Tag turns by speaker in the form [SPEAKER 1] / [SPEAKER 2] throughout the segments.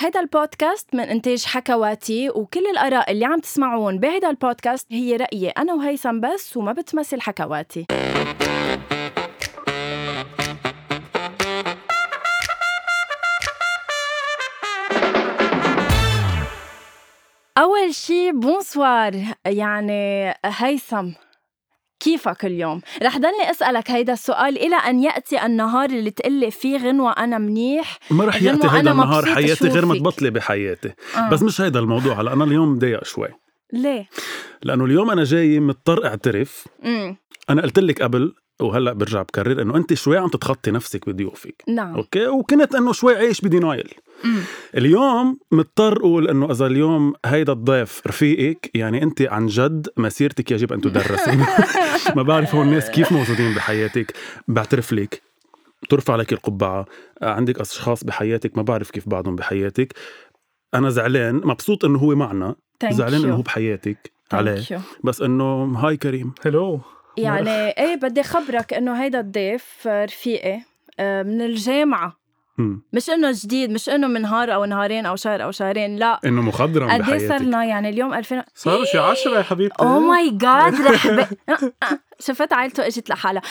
[SPEAKER 1] هيدا البودكاست من إنتاج حكواتي وكل الآراء اللي عم تسمعون بهيدا البودكاست هي رأيي أنا وهيثم بس وما بتمثل حكواتي أول شي بونسوار يعني هيثم كيفك اليوم؟ رح ضلني اسألك هيدا السؤال إلى أن يأتي النهار اللي تقلي فيه غنوة أنا منيح
[SPEAKER 2] ما رح
[SPEAKER 1] غنوة
[SPEAKER 2] يأتي
[SPEAKER 1] أنا
[SPEAKER 2] هيدا النهار
[SPEAKER 1] مبسوط
[SPEAKER 2] حياتي غير
[SPEAKER 1] أشوفك.
[SPEAKER 2] متبطلة بحياتي
[SPEAKER 1] آه.
[SPEAKER 2] بس مش هيدا الموضوع هلا انا اليوم مضايق شوي
[SPEAKER 1] ليه؟
[SPEAKER 2] لانه اليوم انا جاي مضطر اعترف
[SPEAKER 1] امم
[SPEAKER 2] انا قلت لك قبل وهلا برجع بكرر انه انت شوي عم تتخطي نفسك بضيوفك
[SPEAKER 1] نعم
[SPEAKER 2] اوكي وكنت انه شوي عايش بدينايل
[SPEAKER 1] أمم.
[SPEAKER 2] اليوم مضطر اقول انه اذا اليوم هيدا الضيف رفيقك يعني انت عن جد مسيرتك يجب ان تدرس ما بعرف هون الناس كيف موجودين بحياتك بعترف لك ترفع لك القبعه عندك اشخاص بحياتك ما بعرف كيف بعضهم بحياتك انا زعلان مبسوط انه هو معنا
[SPEAKER 1] Thank
[SPEAKER 2] زعلان انه
[SPEAKER 1] you.
[SPEAKER 2] هو بحياتك
[SPEAKER 1] Thank
[SPEAKER 2] عليه
[SPEAKER 1] you.
[SPEAKER 2] بس انه هاي كريم
[SPEAKER 3] هلو
[SPEAKER 1] يعني ايه بدي خبرك انه هيدا الضيف آه، رفيقي آه، من الجامعة
[SPEAKER 2] مم.
[SPEAKER 1] مش انه جديد مش انه من نهار او نهارين او شهر او شهرين لا
[SPEAKER 2] انه
[SPEAKER 1] قد
[SPEAKER 2] مخضرم
[SPEAKER 1] ايه
[SPEAKER 2] إيه، بحياتك
[SPEAKER 1] صرنا يعني اليوم 2000
[SPEAKER 3] صاروا شي عشرة يا حبيبتي
[SPEAKER 2] إيه.
[SPEAKER 1] او ماي جاد رحبة شفت عائلته اجت لحالها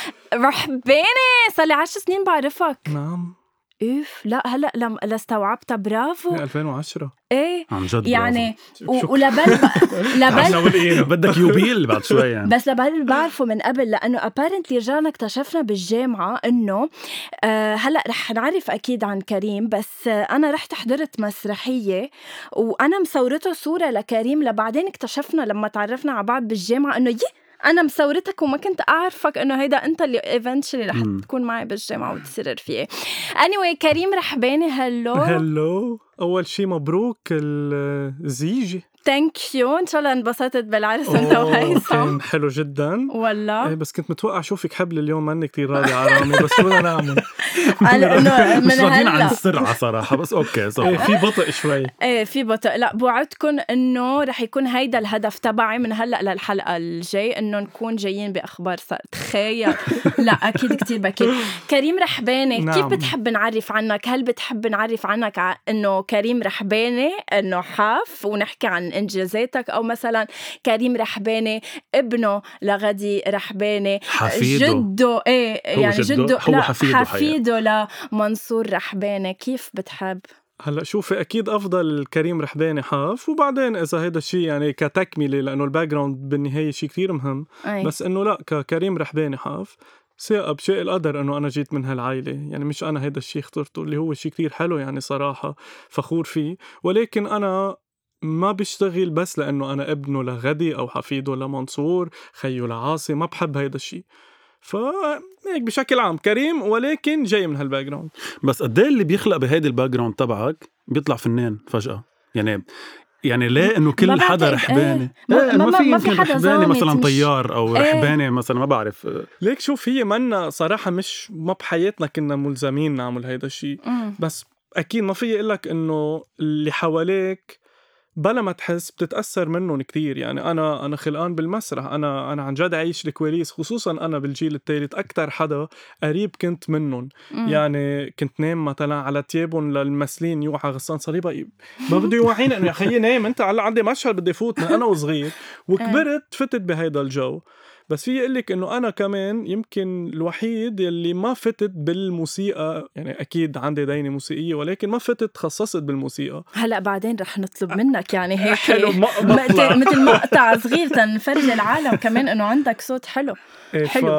[SPEAKER 1] رحباني صار لي 10 سنين بعرفك
[SPEAKER 3] نعم
[SPEAKER 1] اوف لا هلا لم لاستوعبتها برافو
[SPEAKER 3] من 2010
[SPEAKER 1] ايه
[SPEAKER 2] عن جد
[SPEAKER 1] يعني و-
[SPEAKER 3] شكراً.
[SPEAKER 1] ولبل لبل
[SPEAKER 3] عنا ولقينا
[SPEAKER 2] بدك يوبيل بعد شوي يعني
[SPEAKER 1] بس لبال بعرفه من قبل لانه ابارنتلي رجعنا اكتشفنا بالجامعه انه آه هلا رح نعرف اكيد عن كريم بس آه انا رحت حضرت مسرحيه وانا مصورته صوره لكريم لبعدين اكتشفنا لما تعرفنا على بعض بالجامعه انه يي انا مصورتك وما كنت اعرفك انه هيدا انت اللي ايفنتشلي رح
[SPEAKER 2] مم.
[SPEAKER 1] تكون معي بالجامعه وتصير رفيقي اني anyway, كريم رحباني هلو
[SPEAKER 3] هلو أول شي مبروك الزيجة
[SPEAKER 1] ثانك يو ان شاء الله انبسطت بالعرس انت وهيثم
[SPEAKER 3] كان حلو جدا
[SPEAKER 1] والله
[SPEAKER 3] إيه بس كنت متوقع شوفك حبل اليوم ماني كتير راضي على رامي بس شو بدنا نعمل؟
[SPEAKER 1] على انه من
[SPEAKER 2] مش راضيين عن
[SPEAKER 1] هلا
[SPEAKER 2] السرعه صراحه بس اوكي
[SPEAKER 3] إيه
[SPEAKER 2] صراحه
[SPEAKER 3] في بطء شوي
[SPEAKER 1] ايه في بطء لا بوعدكم انه رح يكون هيدا الهدف تبعي من هلا للحلقه الجاي انه نكون جايين باخبار صار تخيل لا اكيد كتير بكير كريم رحباني نعم.
[SPEAKER 3] نعم.
[SPEAKER 1] كيف بتحب نعرف عنك هل بتحب نعرف عنك ع- انه كريم رحباني انه حاف ونحكي عن انجازاتك او مثلا كريم رحباني ابنه لغدي رحباني
[SPEAKER 2] حفيده
[SPEAKER 1] جده ايه
[SPEAKER 2] هو
[SPEAKER 1] يعني
[SPEAKER 2] جده؟
[SPEAKER 1] جده
[SPEAKER 2] هو
[SPEAKER 1] لا
[SPEAKER 2] حفيده حقيقة.
[SPEAKER 1] حفيده لمنصور رحباني كيف بتحب
[SPEAKER 3] هلا شوفي اكيد افضل كريم رحباني حاف وبعدين اذا هيدا الشيء يعني كتكمله لانه الباك جراوند بالنهايه شيء كثير مهم
[SPEAKER 1] أي.
[SPEAKER 3] بس انه لا ككريم رحباني حاف ثاقة بشيء القدر انه انا جيت من هالعائله يعني مش انا هيدا الشيء اخترته اللي هو شيء كتير حلو يعني صراحه فخور فيه ولكن انا ما بشتغل بس لانه انا ابنه لغدي او حفيده لمنصور خيه لعاصي ما بحب هيدا الشيء ف هيك بشكل عام كريم ولكن جاي من هالباك جراوند
[SPEAKER 2] بس قد ايه اللي بيخلق بهيدي الباك جراوند تبعك بيطلع فنان فجاه يعني يعني ليه انه
[SPEAKER 1] ما
[SPEAKER 2] كل
[SPEAKER 1] بعتقد،
[SPEAKER 2] حدا
[SPEAKER 1] إيه.
[SPEAKER 2] رحباني
[SPEAKER 1] ما- ما-
[SPEAKER 2] إيه،
[SPEAKER 1] ما- ما في
[SPEAKER 2] يمكن
[SPEAKER 1] حدا
[SPEAKER 2] رحباني
[SPEAKER 1] زامت،
[SPEAKER 2] مثلا
[SPEAKER 1] مش-
[SPEAKER 2] طيار او
[SPEAKER 1] إيه.
[SPEAKER 2] رحباني مثلا ما بعرف
[SPEAKER 3] ليك شوف هي منا صراحه مش ما بحياتنا كنا ملزمين نعمل هيدا الشيء
[SPEAKER 1] مم.
[SPEAKER 3] بس اكيد ما في اقول لك انه اللي حواليك بلا ما تحس بتتاثر منهم كثير يعني انا انا خلقان بالمسرح انا انا عن جد عايش الكواليس خصوصا انا بالجيل الثالث اكثر حدا قريب كنت منهم
[SPEAKER 1] مم.
[SPEAKER 3] يعني كنت نام مثلا على تيابهم للممثلين يوعى غسان صليبه ما بده يوعيني انه يا خيي نام انت هلا عندي مشهد بدي فوت من انا
[SPEAKER 1] إيه.
[SPEAKER 3] وصغير وكبرت فتت بهيدا الجو بس في اقول لك انه انا كمان يمكن الوحيد يلي ما فتت بالموسيقى يعني اكيد عندي دينه موسيقيه ولكن ما فتت تخصصت بالموسيقى
[SPEAKER 1] هلا بعدين رح نطلب منك يعني هيك
[SPEAKER 3] حلو ما-
[SPEAKER 1] م-
[SPEAKER 3] مطلع.
[SPEAKER 1] مثل مقطع صغير تنفرج العالم كمان انه عندك صوت حلو
[SPEAKER 3] إيه،
[SPEAKER 1] حلو.
[SPEAKER 3] ف...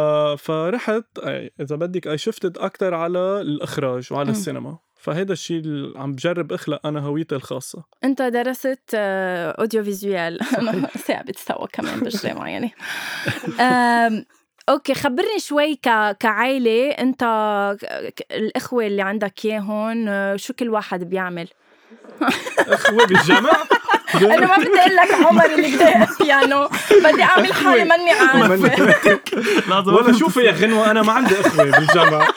[SPEAKER 3] فرحت أي، اذا بدك اي شفتت اكثر على الاخراج وعلى
[SPEAKER 1] أم.
[SPEAKER 3] السينما فهيدا الشيء اللي عم بجرب اخلق انا هويتي الخاصه
[SPEAKER 1] انت درست آه، اوديو فيزيوال أنا ساعه بتسوى كمان بالجامعه يعني آم، اوكي خبرني شوي ك... كعائله انت ك- ك- الاخوه اللي عندك اياهم آه، شو كل واحد بيعمل
[SPEAKER 3] اخوه بالجمع
[SPEAKER 1] انا ما بدي اقول لك عمر اللي بدي بيانو بدي اعمل حالي ماني عارفه
[SPEAKER 2] لازم
[SPEAKER 3] ولا شوفي يا غنوة أنا ما عندي إخوة بالجامعة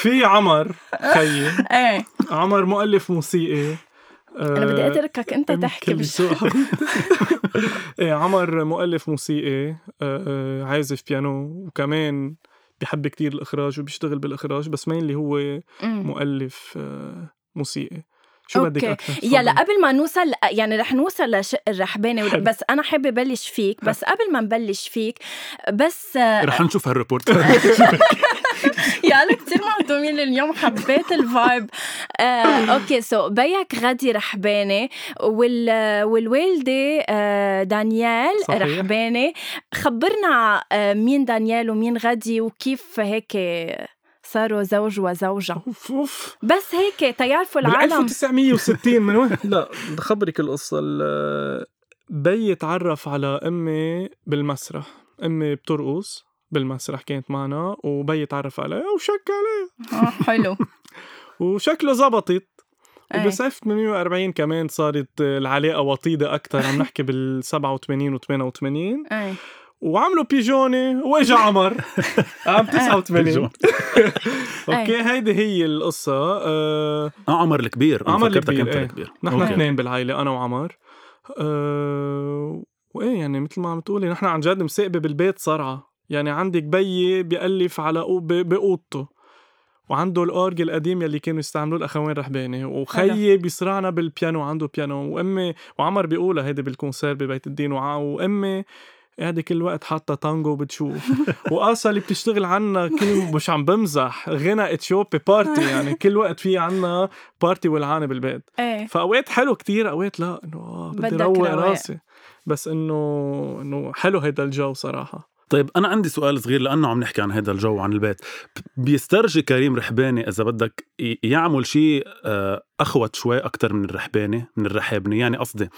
[SPEAKER 3] في عمر خيي
[SPEAKER 1] ايه
[SPEAKER 3] آه، عمر مؤلف موسيقي آه،
[SPEAKER 1] انا بدي اتركك انت تحكي بش...
[SPEAKER 3] ايه عمر مؤلف موسيقي آه، عازف بيانو وكمان بيحب كتير الإخراج وبيشتغل بالإخراج بس مين اللي هو
[SPEAKER 1] مم.
[SPEAKER 3] مؤلف آه، موسيقي شو بدك
[SPEAKER 1] أوكي.
[SPEAKER 3] اكثر
[SPEAKER 1] يلا
[SPEAKER 3] تفضلي.
[SPEAKER 1] قبل ما نوصل يعني رح نوصل لشق الرحباني وال-
[SPEAKER 3] حلو.
[SPEAKER 1] بس انا حابه بلش فيك بس قبل ما نبلش فيك بس
[SPEAKER 2] رح نشوف هالريبورت
[SPEAKER 3] يعني.
[SPEAKER 1] يا أنا كثير مهضومين اليوم حبيت الفايب آه، اوكي سو بيك غادي رحباني وال والوالده آه، دانيال
[SPEAKER 3] صحيح.
[SPEAKER 1] رحباني خبرنا آه، مين دانيال ومين غادي وكيف هيك صاروا زوج وزوجة
[SPEAKER 3] اوف اوف
[SPEAKER 1] بس هيك تيعرفوا
[SPEAKER 3] بال
[SPEAKER 1] العالم
[SPEAKER 3] 1960 من وين؟ لا بدي خبرك القصه ال- بيي تعرف على امي بالمسرح امي بترقص بالمسرح كانت معنا وبيي تعرف عليها وشك عليها
[SPEAKER 1] آه، حلو
[SPEAKER 3] وشكله زبطت
[SPEAKER 1] إيه.
[SPEAKER 3] وبسنة 48 كمان صارت العلاقة وطيدة أكثر عم نحكي بال 87 و 88
[SPEAKER 1] إيه.
[SPEAKER 3] وعملوا بيجونة وإجا عمر عام 89
[SPEAKER 2] بيجون.
[SPEAKER 1] إيه.
[SPEAKER 3] أوكي هيدي هي القصة أه
[SPEAKER 2] اه عمر الكبير أنا
[SPEAKER 3] عمر
[SPEAKER 2] فكرتك
[SPEAKER 3] الكبير،
[SPEAKER 2] انت
[SPEAKER 3] إيه.
[SPEAKER 2] الكبير
[SPEAKER 3] نحن
[SPEAKER 2] أوكي.
[SPEAKER 3] اثنين بالعائلة أنا وعمر أه وإيه يعني مثل ما عم تقولي نحن عن جد مساقبة بالبيت صرعة يعني عندك بيي بيألف على قو- ب- بأوضته وعنده الأورج القديم يلي كانوا يستعملوه الأخوين رحباني وخيي بيصرعنا بالبيانو عنده بيانو وأمي وعمر بيقولها هيدي بالكونسير ببيت الدين وع- وأمي قاعدة كل وقت حاطة تانجو بتشوف وقاسا اللي بتشتغل عنا كل مش عم بمزح غنى اتشوبي بارتي يعني كل وقت في عنا بارتي ولعانة بالبيت
[SPEAKER 1] ايه
[SPEAKER 3] فاوقات حلو كتير اوقات لا انه آه بدي
[SPEAKER 1] بدك
[SPEAKER 3] روق
[SPEAKER 1] رواق.
[SPEAKER 3] راسي بس انه انه حلو هيدا الجو صراحه
[SPEAKER 2] طيب انا عندي سؤال صغير لانه عم نحكي عن هذا الجو عن البيت ب- بيسترجي كريم رحباني اذا بدك ي- يعمل شيء آه، اخوت شوي اكثر من الرحباني من الرحابني يعني قصدي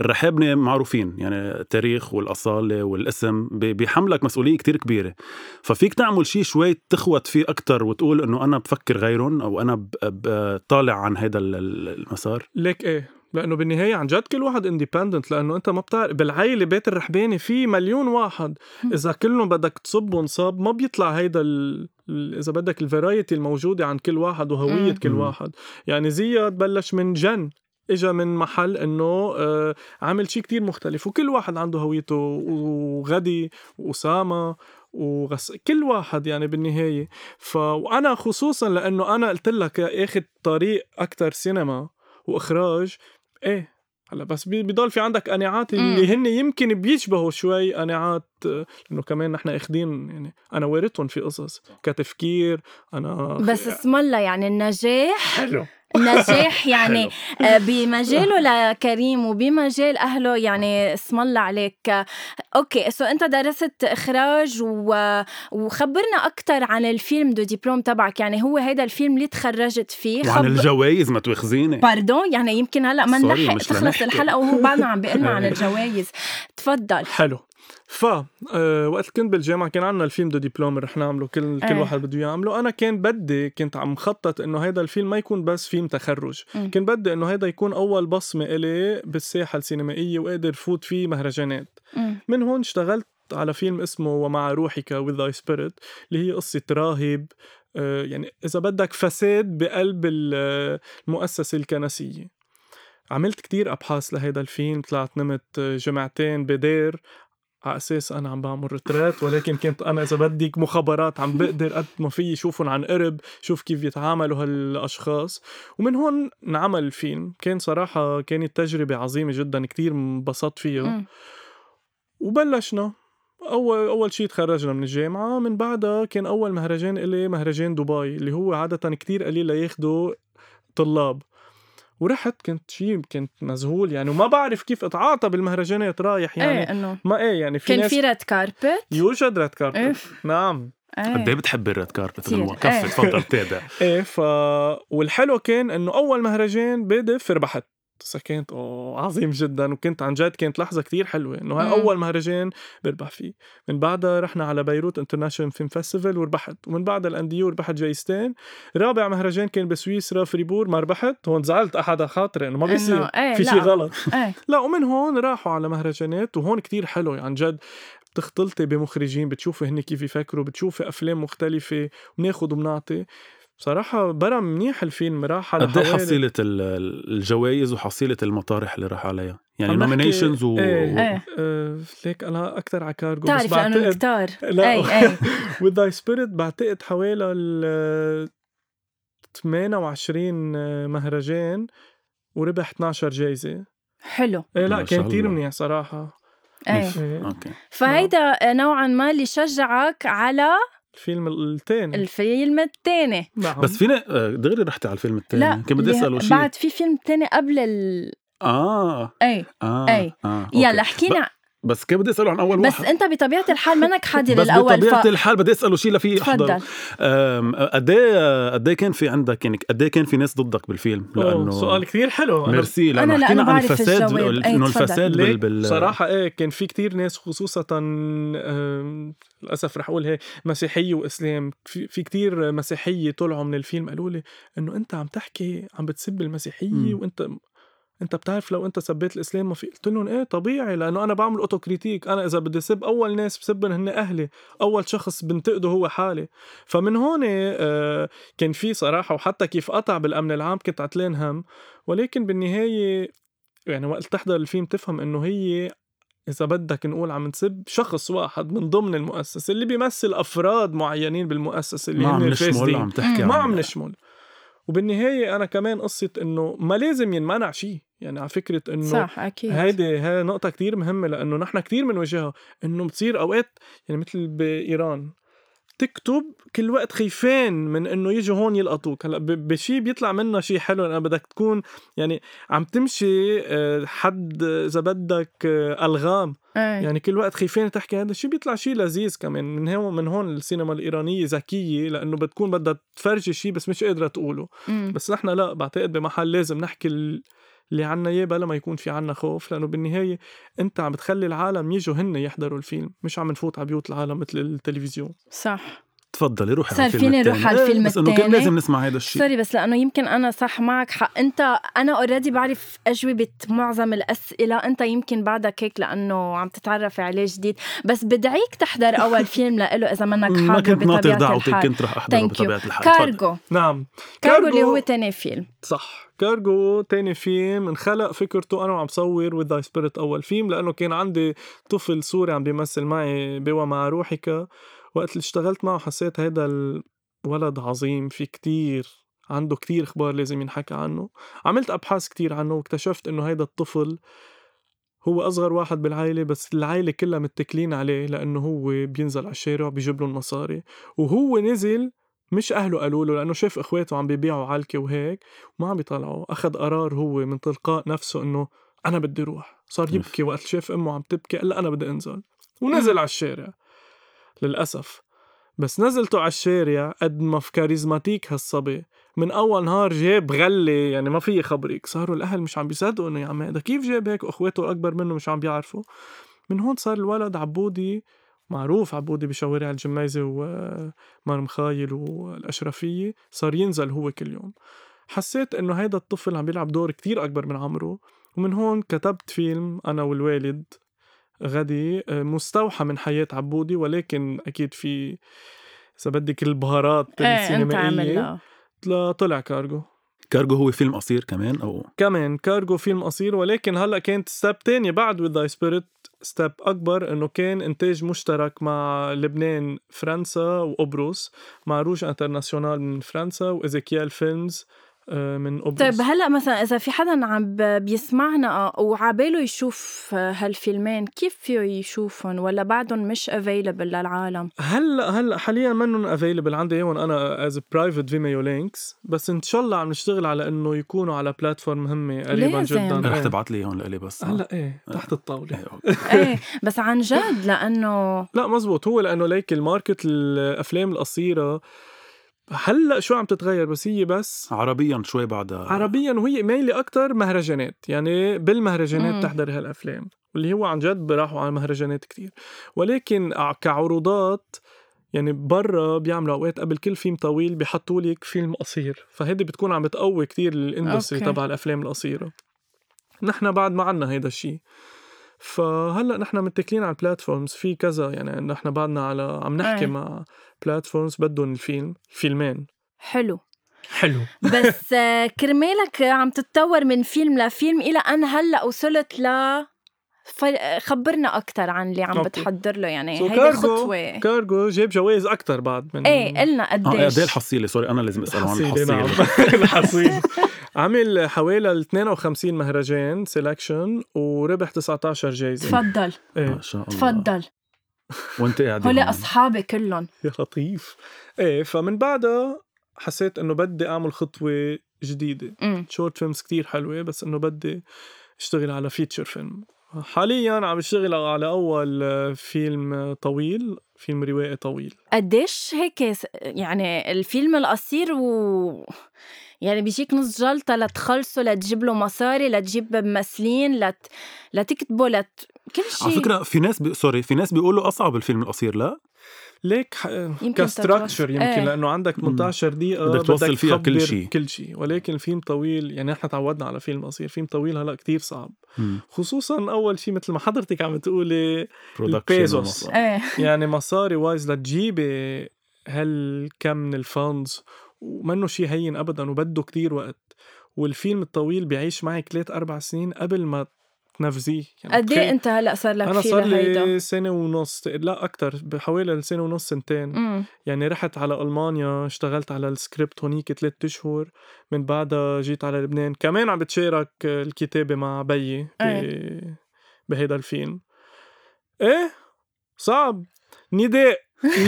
[SPEAKER 2] الرحابني معروفين يعني التاريخ والاصاله والاسم ب- بيحملك مسؤوليه كتير كبيره ففيك تعمل شيء شوي تخوت فيه اكثر وتقول انه انا بفكر غيرهم او انا ب- ب- طالع عن هذا ال- ال- المسار
[SPEAKER 3] ليك ايه لانه بالنهايه عن جد كل واحد اندبندنت لانه انت ما بتعرف بالعيله بيت الرحباني في مليون واحد اذا كلهم بدك تصبهم صاب ما بيطلع هيدا ال... ال- اذا بدك الفرايتي الموجوده عن كل واحد وهويه
[SPEAKER 1] مم.
[SPEAKER 3] كل
[SPEAKER 2] مم.
[SPEAKER 3] واحد يعني زياد بلش من جن اجا من محل انه آه عامل شيء كتير مختلف وكل واحد عنده هويته وغدي واسامه وغس كل واحد يعني بالنهايه ف وانا خصوصا لانه انا قلت لك اخذ طريق اكثر سينما واخراج ايه هلا بس بي- بضل في عندك قناعات اللي هن يمكن بيشبهوا شوي قناعات آه، لانه كمان نحن اخذين يعني انا وارثهم في قصص كتفكير انا
[SPEAKER 1] بس اسم الله يعني النجاح
[SPEAKER 3] حلو
[SPEAKER 1] نجاح يعني
[SPEAKER 2] حلو.
[SPEAKER 1] آه، بمجاله لكريم وبمجال اهله يعني اسم الله عليك آه، اوكي سو انت درست اخراج و... وخبرنا اكثر عن الفيلم دو دبلوم تبعك يعني هو هيدا الفيلم اللي تخرجت فيه
[SPEAKER 3] يعني
[SPEAKER 2] وعن
[SPEAKER 1] خب-
[SPEAKER 2] الجوائز ما تواخذيني
[SPEAKER 1] باردون يعني يمكن هلا ما
[SPEAKER 2] Sorry،
[SPEAKER 1] نلحق
[SPEAKER 2] مش
[SPEAKER 1] تخلص
[SPEAKER 2] لنحكي.
[SPEAKER 1] الحلقه وهو بعدنا عم بيقلنا
[SPEAKER 3] إيه.
[SPEAKER 1] عن الجوائز تفضل
[SPEAKER 3] حلو ف آه، وقت كنت بالجامعه كان عندنا الفيلم دو دبلوم رح نعمله كل كل
[SPEAKER 1] إيه.
[SPEAKER 3] واحد بده يعمله انا كان بدي كنت عم خطط انه هيدا الفيلم ما يكون بس فيلم تخرج
[SPEAKER 1] مم.
[SPEAKER 3] كان بدي انه هيدا يكون اول بصمه الي بالساحه السينمائيه واقدر فوت فيه مهرجانات
[SPEAKER 1] مم.
[SPEAKER 3] من هون اشتغلت على فيلم اسمه ومع روحك with thy spirit اللي هي قصة راهب آه، يعني إذا بدك فساد بقلب ال- آه، المؤسسة الكنسية عملت كتير أبحاث لهيدا الفيلم طلعت نمت آه، جمعتين بدير على اساس انا عم بعمل رترات ولكن كنت انا اذا بدك مخابرات عم بقدر قد ما فيي شوفهم عن قرب شوف كيف يتعاملوا هالاشخاص ومن هون انعمل الفيلم كان صراحه كانت تجربه عظيمه جدا كتير انبسطت فيها
[SPEAKER 1] مم.
[SPEAKER 3] وبلشنا اول اول شيء تخرجنا من الجامعه من بعدها كان اول مهرجان الي مهرجان دبي اللي هو عاده كتير قليل لياخدوا طلاب ورحت كنت شيء كنت مذهول يعني وما بعرف كيف اتعاطى بالمهرجانات رايح يعني
[SPEAKER 1] ايه انه
[SPEAKER 3] ما ايه يعني في
[SPEAKER 1] كان
[SPEAKER 3] ناس
[SPEAKER 1] في ريد كاربت
[SPEAKER 3] يوجد ريد
[SPEAKER 1] إيه.
[SPEAKER 3] كاربت نعم
[SPEAKER 1] إيه.
[SPEAKER 2] قد ايه بتحبي الريد كاربت
[SPEAKER 1] كتير.
[SPEAKER 2] غنوة؟
[SPEAKER 1] إيه.
[SPEAKER 2] كفي تفضل تابع
[SPEAKER 3] ايه ف والحلو كان انه اول مهرجان بادف ربحت سكنت اوه عظيم جدا وكنت عن جد كانت لحظه كتير حلوه انه هاي
[SPEAKER 1] مم.
[SPEAKER 3] اول مهرجان بربح فيه من بعدها رحنا على بيروت انترناشونال فيلم فيستيفال وربحت ومن بعدها الانديو وربحت جايزتين رابع مهرجان كان بسويسرا فريبور ما ربحت هون زعلت احد على خاطري انه ما
[SPEAKER 1] إنه
[SPEAKER 3] بيصير
[SPEAKER 1] إيه،
[SPEAKER 3] في شيء
[SPEAKER 1] لا.
[SPEAKER 3] غلط
[SPEAKER 1] ايه
[SPEAKER 3] لا ومن هون راحوا على مهرجانات وهون كتير حلو يعني، عن جد بتختلطي بمخرجين بتشوفي هن كيف يفكروا بتشوفي افلام مختلفه بناخد وبنعطي بصراحة برم منيح الفيلم راح على
[SPEAKER 2] قد ايه
[SPEAKER 3] حوالي-
[SPEAKER 2] حصيله ال- ال- الجوائز وحصيله المطارح اللي راح عليها؟ يعني
[SPEAKER 3] عم نحكي-
[SPEAKER 2] نومينيشنز و...
[SPEAKER 3] إيه.
[SPEAKER 2] و...
[SPEAKER 1] ايه
[SPEAKER 3] آه، ليك انا اكثر على كارجو بس
[SPEAKER 1] بتعرف لانه
[SPEAKER 3] بعتقد
[SPEAKER 1] كتار
[SPEAKER 3] لا.
[SPEAKER 1] ايه ايه
[SPEAKER 3] وذ ذاي سبيريت بعتقد حوالي ال 28 مهرجان وربح 12 جايزه
[SPEAKER 1] حلو
[SPEAKER 3] إيه لا
[SPEAKER 2] ما شاء
[SPEAKER 3] كان كثير
[SPEAKER 2] الله.
[SPEAKER 3] منيح صراحه
[SPEAKER 1] ايه
[SPEAKER 3] إيه
[SPEAKER 2] اوكي
[SPEAKER 1] فهيدا نوعا ما اللي شجعك على
[SPEAKER 3] الفيلم الثاني
[SPEAKER 1] الفيلم الثاني
[SPEAKER 3] نعم
[SPEAKER 2] بس فينا آه، دغري رحتي على الفيلم الثاني
[SPEAKER 1] لا
[SPEAKER 2] كنت بدي
[SPEAKER 1] ليه-
[SPEAKER 2] اساله شيء
[SPEAKER 1] بعد في فيلم تاني قبل ال
[SPEAKER 2] اه
[SPEAKER 1] ايه
[SPEAKER 2] اه
[SPEAKER 1] أي.
[SPEAKER 2] اه أوكي.
[SPEAKER 1] يلا حكينا
[SPEAKER 2] بس كيف بدي اساله عن اول
[SPEAKER 1] بس
[SPEAKER 2] واحد
[SPEAKER 1] انت بطبيعه الحال منك حاضر
[SPEAKER 2] بس
[SPEAKER 1] الاول
[SPEAKER 2] بطبيعه
[SPEAKER 1] ف-
[SPEAKER 2] الحال بدي اساله شيء لفي احضر
[SPEAKER 1] تفضل
[SPEAKER 2] أم، قد ايه قد ايه كان في عندك يعني قد ايه كان في ناس ضدك بالفيلم
[SPEAKER 3] أوه،
[SPEAKER 2] لانه
[SPEAKER 3] سؤال كثير حلو أنا
[SPEAKER 2] ميرسي لانه
[SPEAKER 1] أنا- لأنه
[SPEAKER 2] حكينا عن
[SPEAKER 1] بعرف
[SPEAKER 2] الفساد
[SPEAKER 1] الجواب.
[SPEAKER 2] وال-
[SPEAKER 1] أي،
[SPEAKER 2] انه
[SPEAKER 1] تفضل.
[SPEAKER 2] الفساد
[SPEAKER 3] ليك
[SPEAKER 2] بال بال
[SPEAKER 3] صراحة ايه كان في كتير ناس خصوصا آم، للأسف رح أقول هيك مسيحية وإسلام في, في كتير مسيحية طلعوا من الفيلم قالوا لي إنه أنت عم تحكي عم بتسب المسيحية
[SPEAKER 2] مم.
[SPEAKER 3] وأنت انت بتعرف لو انت سبيت الاسلام ما في قلت لهم ايه طبيعي لانه انا بعمل اوتوكريتيك انا اذا بدي سب اول ناس بسبن هن اهلي اول شخص بنتقده هو حالي فمن هون آه، كان في صراحه وحتى كيف قطع بالامن العام كنت عتلان هم ولكن بالنهايه يعني وقت تحضر الفيلم تفهم انه هي اذا بدك نقول عم نسب شخص واحد من ضمن المؤسسه اللي بيمثل افراد معينين بالمؤسسه اللي
[SPEAKER 2] ما عم
[SPEAKER 3] هن
[SPEAKER 2] نشمل
[SPEAKER 3] الفاسدين
[SPEAKER 2] عم تحكي
[SPEAKER 1] مم.
[SPEAKER 3] ما
[SPEAKER 2] عن-
[SPEAKER 3] عم نشمل وبالنهايه انا كمان قصه انه ما لازم ينمنع شيء يعني على فكره انه
[SPEAKER 1] صح اكيد
[SPEAKER 3] هيدي هاي نقطة كتير مهمة لأنه نحن كتير بنواجهها إنه بتصير أوقات يعني مثل بإيران تكتب كل وقت خيفان من انه يجوا هون يلقطوك هلا ب- بشي بيطلع منها شي حلو لأنه بدك تكون يعني عم تمشي آه، حد آه، اذا بدك آه، الغام
[SPEAKER 1] ايه.
[SPEAKER 3] يعني كل وقت خيفان تحكي هذا الشيء بيطلع شيء لذيذ كمان من هون من هون السينما الايرانيه ذكيه لانه بتكون بدها تفرجي شيء بس مش قادره تقوله
[SPEAKER 1] مم.
[SPEAKER 3] بس نحن لا بعتقد بمحل لازم نحكي ال- اللي عنا اياه بلا ما يكون في عنا خوف لانه بالنهايه انت عم بتخلي العالم يجوا هن يحضروا الفيلم مش عم نفوت على بيوت العالم مثل التلفزيون
[SPEAKER 1] صح
[SPEAKER 2] تفضلي روحي
[SPEAKER 1] صار
[SPEAKER 2] على الفيلم
[SPEAKER 1] فيني
[SPEAKER 2] التاني. إيه،
[SPEAKER 1] روح على الفيلم
[SPEAKER 2] بس انه كان
[SPEAKER 1] التاني؟
[SPEAKER 2] لازم نسمع هذا الشيء
[SPEAKER 1] سوري بس لانه يمكن انا صح معك حق انت انا اوريدي بعرف اجوبه معظم الاسئله انت يمكن بعدك هيك لانه عم تتعرف عليه جديد بس بدعيك تحضر اول فيلم لإله اذا منك
[SPEAKER 2] ما
[SPEAKER 1] حاضر
[SPEAKER 2] كنت ناطر
[SPEAKER 1] بطبيعه
[SPEAKER 2] دعوتك
[SPEAKER 1] الحال
[SPEAKER 2] كنت رح احضره
[SPEAKER 1] Thank you.
[SPEAKER 2] بطبيعه الحال تفضل.
[SPEAKER 1] كارجو
[SPEAKER 3] نعم
[SPEAKER 1] كارجو اللي هو تاني فيلم
[SPEAKER 3] صح كارجو تاني فيلم انخلق فكرته انا وعم صور وذ ذا سبيريت اول فيلم لانه كان عندي طفل سوري عم بيمثل معي بوا مع روحك وقت اللي اشتغلت معه حسيت هيدا الولد عظيم في كتير عنده كتير اخبار لازم ينحكى عنه عملت ابحاث كتير عنه واكتشفت انه هيدا الطفل هو اصغر واحد بالعائله بس العائله كلها متكلين عليه لانه هو بينزل على الشارع بيجيب لهم مصاري وهو نزل مش اهله قالوا له لانه شاف اخواته عم بيبيعوا علكه وهيك ما عم بيطلعوا اخذ قرار هو من تلقاء نفسه انه انا بدي روح صار
[SPEAKER 2] أوف.
[SPEAKER 3] يبكي وقت شاف امه عم تبكي قال لها انا بدي انزل ونزل على الشارع للاسف بس نزلته على الشارع قد ما في كاريزماتيك هالصبي من اول نهار جاب غله يعني ما في خبرك صاروا الاهل مش عم بيصدقوا انه يا عم هذا كيف جاب هيك واخواته الاكبر منه مش عم بيعرفوا من هون صار الولد عبودي معروف عبودي بشوارع الجميزة ومرمخايل والأشرفية صار ينزل هو كل يوم حسيت إنه هيدا الطفل عم بيلعب دور كتير أكبر من عمره ومن هون كتبت فيلم أنا والوالد غدي آه، مستوحى من حياة عبودي ولكن أكيد في إذا بدك البهارات
[SPEAKER 1] ايه انت
[SPEAKER 3] إيه؟ السينمائية
[SPEAKER 1] عامل
[SPEAKER 3] طلع- طلع كارجو
[SPEAKER 2] كارجو هو فيلم قصير كمان او
[SPEAKER 3] كمان كارجو فيلم قصير ولكن هلا كانت ستاب تانية بعد وذ ذا سبيريت ستاب اكبر انه كان انتاج مشترك مع لبنان فرنسا وقبرص مع روج انترناسيونال من فرنسا وازيكيال فيلمز آه، من قبرص
[SPEAKER 1] طيب هلا مثلا اذا في حدا عم ب- بيسمعنا آه، وعباله يشوف آه، هالفيلمين كيف فيه يشوفهم ولا بعدهم مش افيلبل للعالم
[SPEAKER 3] هلا هلا حاليا منهم افيلبل عندي اياهم انا از برايفت فيميو لينكس بس ان شاء الله عم نشتغل على انه يكونوا على بلاتفورم مهمه قريبا
[SPEAKER 1] لازم.
[SPEAKER 3] جدا
[SPEAKER 2] رح
[SPEAKER 3] إيه.
[SPEAKER 2] تبعت لي هون لإلي بس
[SPEAKER 3] هلا ايه تحت الطاوله
[SPEAKER 2] إيه، أوكي.
[SPEAKER 1] ايه بس عن جد لانه
[SPEAKER 3] لا مزبوط هو لانه ليك الماركت الافلام القصيره هلا شو عم تتغير بس هي بس
[SPEAKER 2] عربيا شوي آه، بعدها
[SPEAKER 3] عربيا وهي ميلي اكثر مهرجانات يعني
[SPEAKER 1] مم.
[SPEAKER 3] بالمهرجانات تحضر هالافلام واللي هو عن جد راحوا على مهرجانات كتير ولكن ع- كعروضات يعني برا بيعملوا اوقات قبل كل فيلم طويل بيحطوا لك فيلم قصير فهيدي بتكون عم بتقوي كتير الاندستري
[SPEAKER 1] أوكي.
[SPEAKER 3] تبع الافلام القصيره نحن بعد ما عنا هيدا الشيء فهلا نحن متكلين على البلاتفورمز في كذا يعني نحن بعدنا على عم نحكي
[SPEAKER 1] إيه.
[SPEAKER 3] مع بلاتفورمز بدهم الفيلم فيلمين
[SPEAKER 1] حلو
[SPEAKER 3] حلو
[SPEAKER 1] بس آه، كرمالك عم تتطور من فيلم لفيلم الى ان هلا وصلت ل فل- خبرنا اكثر عن اللي عم
[SPEAKER 3] أوكي.
[SPEAKER 1] بتحضر له يعني
[SPEAKER 3] So
[SPEAKER 1] هيدي
[SPEAKER 3] cargo-
[SPEAKER 1] خطوه
[SPEAKER 3] كارجو جاب جوائز اكثر بعد من
[SPEAKER 1] ايه قلنا
[SPEAKER 2] اه إيه، قد ايه
[SPEAKER 1] قديش
[SPEAKER 2] الحصيله سوري انا لازم اسال عن
[SPEAKER 3] الحصيلة
[SPEAKER 2] الحصيله
[SPEAKER 3] نعم الحصيلة عمل حوالي ال 52 مهرجان سيلكشن وربح 19 جايزة
[SPEAKER 1] تفضل
[SPEAKER 3] ايه
[SPEAKER 2] ما آه، شاء الله
[SPEAKER 1] تفضل
[SPEAKER 2] وانت قاعده
[SPEAKER 1] هول
[SPEAKER 2] هون.
[SPEAKER 1] اصحابي كلهم
[SPEAKER 3] يا لطيف ايه فمن بعدها حسيت انه بدي اعمل خطوة جديدة
[SPEAKER 1] أمم.
[SPEAKER 3] شورت فيلمز كتير حلوة بس انه بدي اشتغل على فيتشر فيلم حاليا عم بشتغل على اول آه، فيلم طويل فيلم روائي طويل
[SPEAKER 1] قديش هيك س- يعني الفيلم القصير و يعني بيجيك نص جلطة لتخلصه لتجيب له مصاري لتجيب ممثلين لت... لتكتبه لت... كل شيء
[SPEAKER 2] على فكره في ناس بي... سوري في ناس بيقولوا اصعب الفيلم القصير لا
[SPEAKER 3] ليك
[SPEAKER 1] يمكن
[SPEAKER 3] كستراكشر
[SPEAKER 1] تتوصل-
[SPEAKER 3] يمكن
[SPEAKER 1] إيه.
[SPEAKER 3] لانه عندك 18 دقيقه
[SPEAKER 2] بدك توصل فيها كل
[SPEAKER 3] تخبر
[SPEAKER 2] شي.
[SPEAKER 3] كل شيء ولكن الفيلم طويل يعني نحن تعودنا على فيلم قصير فيلم طويل هلا كتير صعب
[SPEAKER 2] مم.
[SPEAKER 3] خصوصا اول شيء مثل ما حضرتك عم تقولي
[SPEAKER 2] production
[SPEAKER 3] البيزوس.
[SPEAKER 2] والله.
[SPEAKER 1] ايه
[SPEAKER 3] يعني مصاري وايز لتجيبي هالكم من الفاندز ومنه شيء هين ابدا وبده كتير وقت والفيلم الطويل بيعيش معك ثلاث اربع سنين قبل ما تنفذيه يعني
[SPEAKER 1] قد ايه
[SPEAKER 3] تخيل-
[SPEAKER 1] انت هلا صار لك
[SPEAKER 3] انا
[SPEAKER 1] فيه
[SPEAKER 3] صار
[SPEAKER 1] لهيدا؟
[SPEAKER 3] لي سنه ونص لا اكثر بحوالي سنه ونص سنتين
[SPEAKER 1] أمم.
[SPEAKER 3] يعني رحت على ألمانيا اشتغلت على السكريبت هونيك ثلاثة أشهر من بعدها جيت على لبنان كمان عم بتشارك الكتابة مع بيي ب... بهيدا الفيلم ايه صعب نداء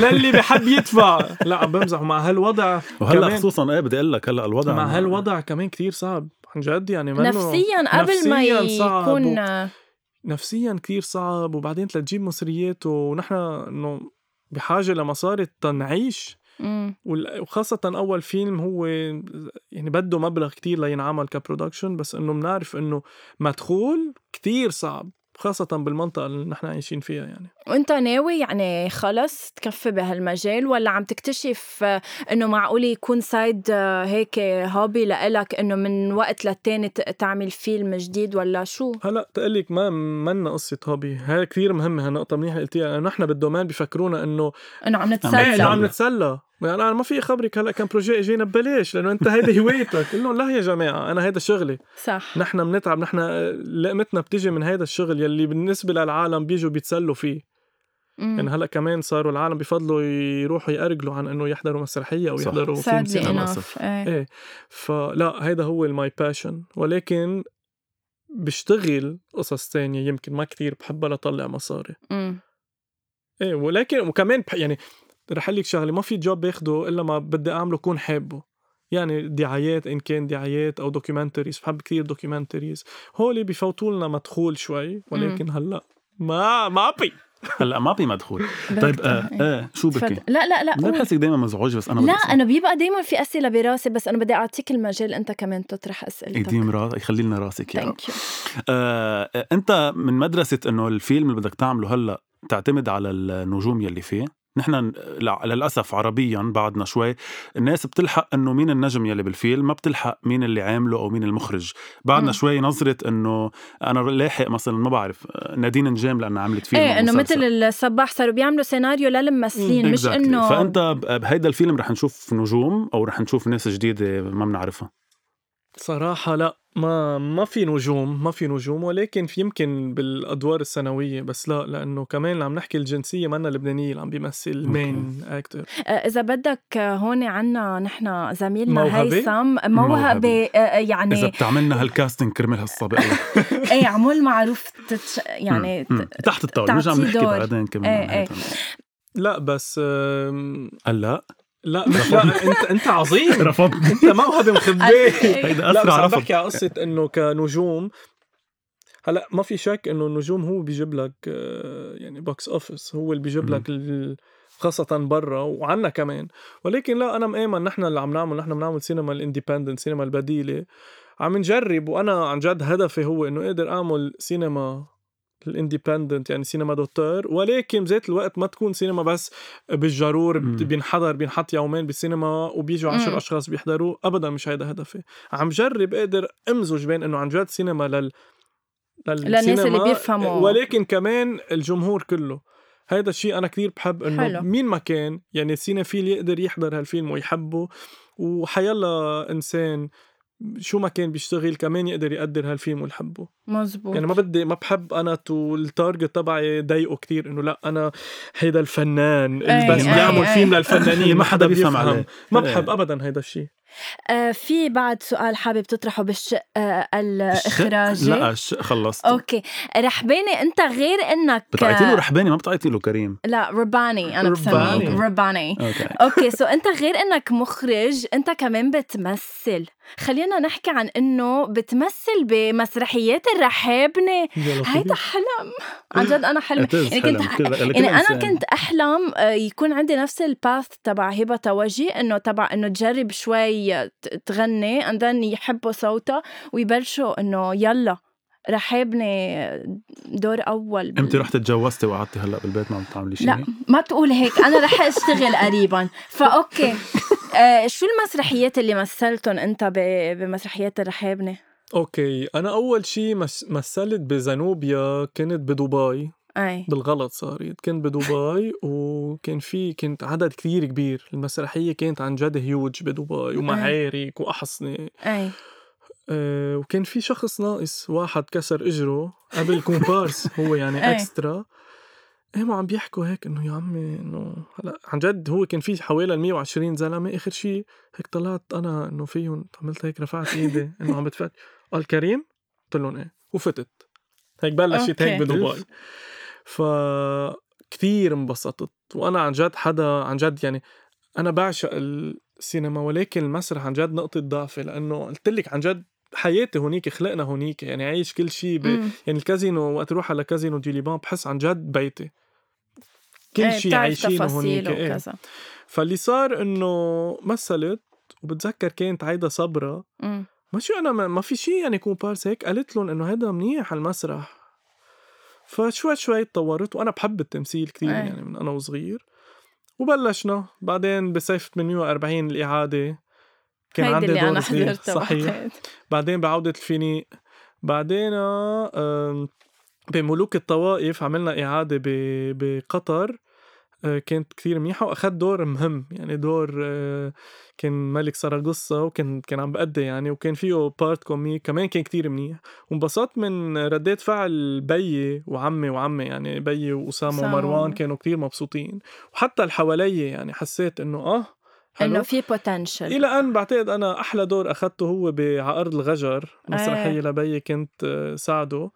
[SPEAKER 3] للي بحب يدفع لا عم بمزح مع هالوضع
[SPEAKER 2] وهلا
[SPEAKER 3] كمان
[SPEAKER 2] خصوصا ايه بدي اقول لك هلا الوضع
[SPEAKER 3] مع هالوضع كمان كتير صعب عن جد يعني منه
[SPEAKER 1] نفسيا قبل ما
[SPEAKER 3] نفسياً صعب
[SPEAKER 1] يكون
[SPEAKER 3] نفسيا كتير صعب وبعدين تلتجيب مصريات ونحن انه بحاجة لمصاري تنعيش
[SPEAKER 1] أمم.
[SPEAKER 3] وال- وخاصة أول فيلم هو يعني بده مبلغ كتير لينعمل كبرودكشن بس إنه بنعرف إنه مدخول كتير صعب خاصة بالمنطقة اللي نحن عايشين فيها يعني
[SPEAKER 1] وانت ناوي يعني خلص تكفي بهالمجال ولا عم تكتشف آه، انه معقول يكون سايد آه، هيك هوبي لإلك انه من وقت للتاني ت- تعمل فيلم جديد ولا شو؟
[SPEAKER 3] هلا تقلك ما منا قصة هوبي هاي كتير مهمة هالنقطة منيح قلتيها لأنه نحن بالدومين بيفكرونا إنه
[SPEAKER 1] انه
[SPEAKER 2] نعم.
[SPEAKER 1] عم
[SPEAKER 3] إيه إنه
[SPEAKER 1] نتسلى
[SPEAKER 3] عم نتسلى يعني أنا ما في أخبرك هلا كان بروجي إجينا ببلاش لأنه أنت هيدا هوايتك قل لهم لا يا جماعة أنا هيدا شغلي
[SPEAKER 1] صح
[SPEAKER 2] نعم.
[SPEAKER 3] نحن بنتعب نحن لقمتنا بتيجي من هيدا الشغل يلي بالنسبة للعالم بيجوا بيتسلوا فيه
[SPEAKER 1] مم.
[SPEAKER 3] يعني هلا كمان صاروا العالم بفضلوا يروحوا يأرجلوا عن انه يحضروا مسرحيه او
[SPEAKER 2] صح.
[SPEAKER 3] يحضروا فيلم
[SPEAKER 1] Sadly
[SPEAKER 3] سينما
[SPEAKER 1] enough. إيه.
[SPEAKER 3] ايه فلا هيدا هو الماي باشن ولكن بشتغل قصص تانية يمكن ما كتير بحبها لطلع مصاري
[SPEAKER 1] مم.
[SPEAKER 3] ايه ولكن وكمان بح يعني رح اقول لك شغله ما في جوب باخده الا ما بدي اعمله كون حابه يعني دعايات ان كان دعايات او دوكيومنتريز بحب كتير دوكيومنتريز هول بفوتوا لنا مدخول شوي ولكن هلا ما ما عبي
[SPEAKER 2] هلا ما في مدخول طيب آه, آه شو بكي؟
[SPEAKER 1] تفضل. لا لا لا
[SPEAKER 2] ما
[SPEAKER 1] قول.
[SPEAKER 2] بحسك دائما مزعوجه بس انا بدي
[SPEAKER 1] لا
[SPEAKER 2] أسأل.
[SPEAKER 1] انا بيبقى دائما في اسئله براسي بس انا بدي اعطيك المجال انت كمان تطرح اسئلتك
[SPEAKER 2] يديم راسك يخلي لنا راسك يا رب
[SPEAKER 1] ثانك يو
[SPEAKER 2] آه آه، انت من مدرسه انه الفيلم اللي بدك تعمله هلا تعتمد على النجوم يلي فيه نحن لع- للاسف عربيا بعدنا شوي الناس بتلحق انه مين النجم يلي بالفيلم ما بتلحق مين اللي عامله او مين المخرج بعدنا
[SPEAKER 1] مم.
[SPEAKER 2] شوي نظره انه انا لاحق مثلا ما بعرف آه، نادين نجام لانها عملت فيلم
[SPEAKER 1] ايه انه
[SPEAKER 2] ومسلسل.
[SPEAKER 1] مثل الصباح صاروا بيعملوا سيناريو للممثلين مش
[SPEAKER 2] Exactly.
[SPEAKER 1] انه
[SPEAKER 2] فانت ب- بهيدا الفيلم رح نشوف نجوم او رح نشوف ناس جديده ما بنعرفها
[SPEAKER 3] صراحة لا ما ما في نجوم ما في نجوم ولكن في يمكن بالادوار الثانوية بس لا لانه كمان عم نحكي الجنسية منا لبنانية اللي عم بيمثل مين اكتر
[SPEAKER 1] آه، اذا بدك آه، هون عنا نحن زميلنا
[SPEAKER 3] موهبة؟
[SPEAKER 1] هيثم موهبه
[SPEAKER 2] موهبة.
[SPEAKER 1] آه، آه،
[SPEAKER 2] اذا
[SPEAKER 1] يعني
[SPEAKER 2] بتعملنا هالكاستنج كرمال هالصبي الله.
[SPEAKER 1] ايه عمول معروف تتش... يعني
[SPEAKER 2] مم. تحت الطاوله نرجع
[SPEAKER 1] تعطيه
[SPEAKER 2] بنحكي
[SPEAKER 1] دور.
[SPEAKER 2] بعدين كمان
[SPEAKER 1] إيه،
[SPEAKER 2] عن
[SPEAKER 1] إيه.
[SPEAKER 2] هيدا.
[SPEAKER 3] لا بس آم،
[SPEAKER 2] هلا
[SPEAKER 3] لا مش لا انت انت عظيم
[SPEAKER 2] رفضت
[SPEAKER 3] انت موهبة مخبية
[SPEAKER 1] إيه.
[SPEAKER 2] هيدا
[SPEAKER 3] لا بس
[SPEAKER 2] اسرع
[SPEAKER 3] عم
[SPEAKER 2] رفض
[SPEAKER 3] بحكي على قصة انه كنجوم هلا ما في شك انه النجوم هو بيجيب لك آه، يعني بوكس اوفيس هو اللي بيجيب
[SPEAKER 2] مم.
[SPEAKER 3] لك ال- خاصة برا وعنا كمان ولكن لا انا مآمن نحن اللي عم نعمل نحن بنعمل سينما الاندبندنت سينما البديلة عم نجرب وانا عن جد هدفي هو انه اقدر اعمل سينما الاندبندنت يعني سينما دوتور ولكن بذات الوقت ما تكون سينما بس بالجرور
[SPEAKER 2] مم.
[SPEAKER 3] بت- بينحضر بينحط يومين بالسينما وبيجوا
[SPEAKER 1] مم.
[SPEAKER 3] عشر اشخاص بيحضروا ابدا مش هيدا هدفي عم جرب اقدر امزج بين انه عن جد سينما لل
[SPEAKER 1] للناس اللي
[SPEAKER 3] للسينما،
[SPEAKER 1] بيفهموا.
[SPEAKER 3] ولكن كمان الجمهور كله هيدا الشيء انا كثير بحب انه
[SPEAKER 1] حلو.
[SPEAKER 3] مين ما كان يعني السينفيل يقدر يحضر هالفيلم ويحبه وحيلا انسان شو ما كان بيشتغل كمان يقدر يقدر هالفيلم ويحبه
[SPEAKER 1] مزبوط
[SPEAKER 3] يعني ما بدي ما بحب انا تو التارجت تبعي ضايقه كتير انه لا انا هيدا الفنان
[SPEAKER 1] أي،
[SPEAKER 3] اللي بس
[SPEAKER 1] أي،
[SPEAKER 3] بيعمل
[SPEAKER 1] أي.
[SPEAKER 3] فيلم للفنانين ما إيه، حدا بيفهم عليه إيه. ما
[SPEAKER 2] أي.
[SPEAKER 3] بحب ابدا هيدا الشيء
[SPEAKER 1] آه في بعد سؤال حابب تطرحه بالشق آه الاخراجي
[SPEAKER 2] لا الش- خلصت
[SPEAKER 1] اوكي رحباني انت غير انك
[SPEAKER 2] بتعيطي له رحباني ما بتعيطي له كريم
[SPEAKER 1] لا رباني انا
[SPEAKER 3] رباني.
[SPEAKER 1] بسميه رباني
[SPEAKER 2] اوكي
[SPEAKER 1] اوكي سو انت غير انك مخرج انت كمان بتمثل خلينا نحكي عن انه بتمثل بمسرحيات الرحابنه
[SPEAKER 3] يا لطيف.
[SPEAKER 1] هيدا حلم عن جد انا حلم
[SPEAKER 2] It is
[SPEAKER 1] يعني
[SPEAKER 2] حلم.
[SPEAKER 1] كنت
[SPEAKER 2] كل- لكل
[SPEAKER 1] يعني انا
[SPEAKER 2] إنسان.
[SPEAKER 1] كنت احلم آه، يكون عندي نفس الباث تبع هبه توجي انه تبع انه تجرب شوي ت- تغني اندن يحبوا صوتها ويبلشوا انه يلا رحابني دور اول بال-
[SPEAKER 2] انت رحت تجوزتي وقعدتي هلا بالبيت ما عم تعملي شيء
[SPEAKER 1] لا ما تقول هيك انا رح اشتغل قريبا فاوكي آه شو المسرحيات اللي مثلتهم انت ب- بمسرحيات الرحابنه
[SPEAKER 3] اوكي انا اول شيء مثلت بزنوبيا كنت بدبي
[SPEAKER 1] اي
[SPEAKER 3] بالغلط صارت كنت بدبي وكان في كنت عدد كثير كبير المسرحية كانت عن جد هيوج بدبي ومعارك وأحصنة
[SPEAKER 1] اي
[SPEAKER 3] أه وكان في شخص ناقص واحد كسر إجره قبل كومبارس هو يعني
[SPEAKER 1] إيه.
[SPEAKER 3] اكسترا قاموا عم بيحكوا هيك انه يا عمي انه هلا عن جد هو كان في حوالي 120 زلمه اخر شيء هيك طلعت انا انه فيهم عملت هيك رفعت ايدي انه عم بتفت قال كريم قلت لهم ايه وفتت هيك بلشت هيك
[SPEAKER 1] أوكي.
[SPEAKER 3] بدبي ف كثير انبسطت وانا عن جد حدا عن جد يعني انا بعشق السينما ولكن المسرح عن جد نقطه ضعفي لانه قلت لك عن جد حياتي هونيك خلقنا هونيك يعني عايش كل شيء ب...
[SPEAKER 1] مم.
[SPEAKER 3] يعني الكازينو وقت اروح على كازينو دي ليبان بحس عن جد بيتي كل
[SPEAKER 1] إيه،
[SPEAKER 3] شيء
[SPEAKER 1] بتعرف
[SPEAKER 3] عايشينه
[SPEAKER 1] تفاصيل
[SPEAKER 3] هونيك إيه.
[SPEAKER 1] وكذا
[SPEAKER 3] فاللي صار انه مثلت وبتذكر كانت عايده صبرا
[SPEAKER 1] مم.
[SPEAKER 3] ما شو انا ما, ما في شيء يعني كومبارس هيك قالت لهم انه هذا منيح على المسرح فشوي شوي تطورت وانا بحب التمثيل كثير
[SPEAKER 1] إيه.
[SPEAKER 3] يعني من انا وصغير وبلشنا بعدين بصيف 48 الاعاده كان
[SPEAKER 1] هيدي
[SPEAKER 3] عندي
[SPEAKER 1] اللي
[SPEAKER 3] دور
[SPEAKER 1] انا
[SPEAKER 3] صغير.
[SPEAKER 1] حضرتها
[SPEAKER 3] صحيح
[SPEAKER 1] بعتقد.
[SPEAKER 3] بعدين بعودة الفينيق بعدين آه، آم، بملوك الطوائف عملنا إعادة ب- بقطر آه، كانت كثير منيحة وأخذت دور مهم يعني دور آه، كان ملك سراغوسا وكان كان عم بأدي يعني وكان فيه بارت كومي كمان كان كتير منيح وانبسطت من ردات فعل بيي وعمي وعمي يعني بيي وأسامة
[SPEAKER 1] أسامة.
[SPEAKER 3] ومروان كانوا كتير مبسوطين وحتى اللي حواليا يعني حسيت إنه آه حلو
[SPEAKER 1] انه في بوتنشل
[SPEAKER 3] الى ان بعتقد انا احلى دور اخذته هو بعقرض الغجر مسرحيه
[SPEAKER 1] إيه.
[SPEAKER 3] لبيي كنت آه، ساعده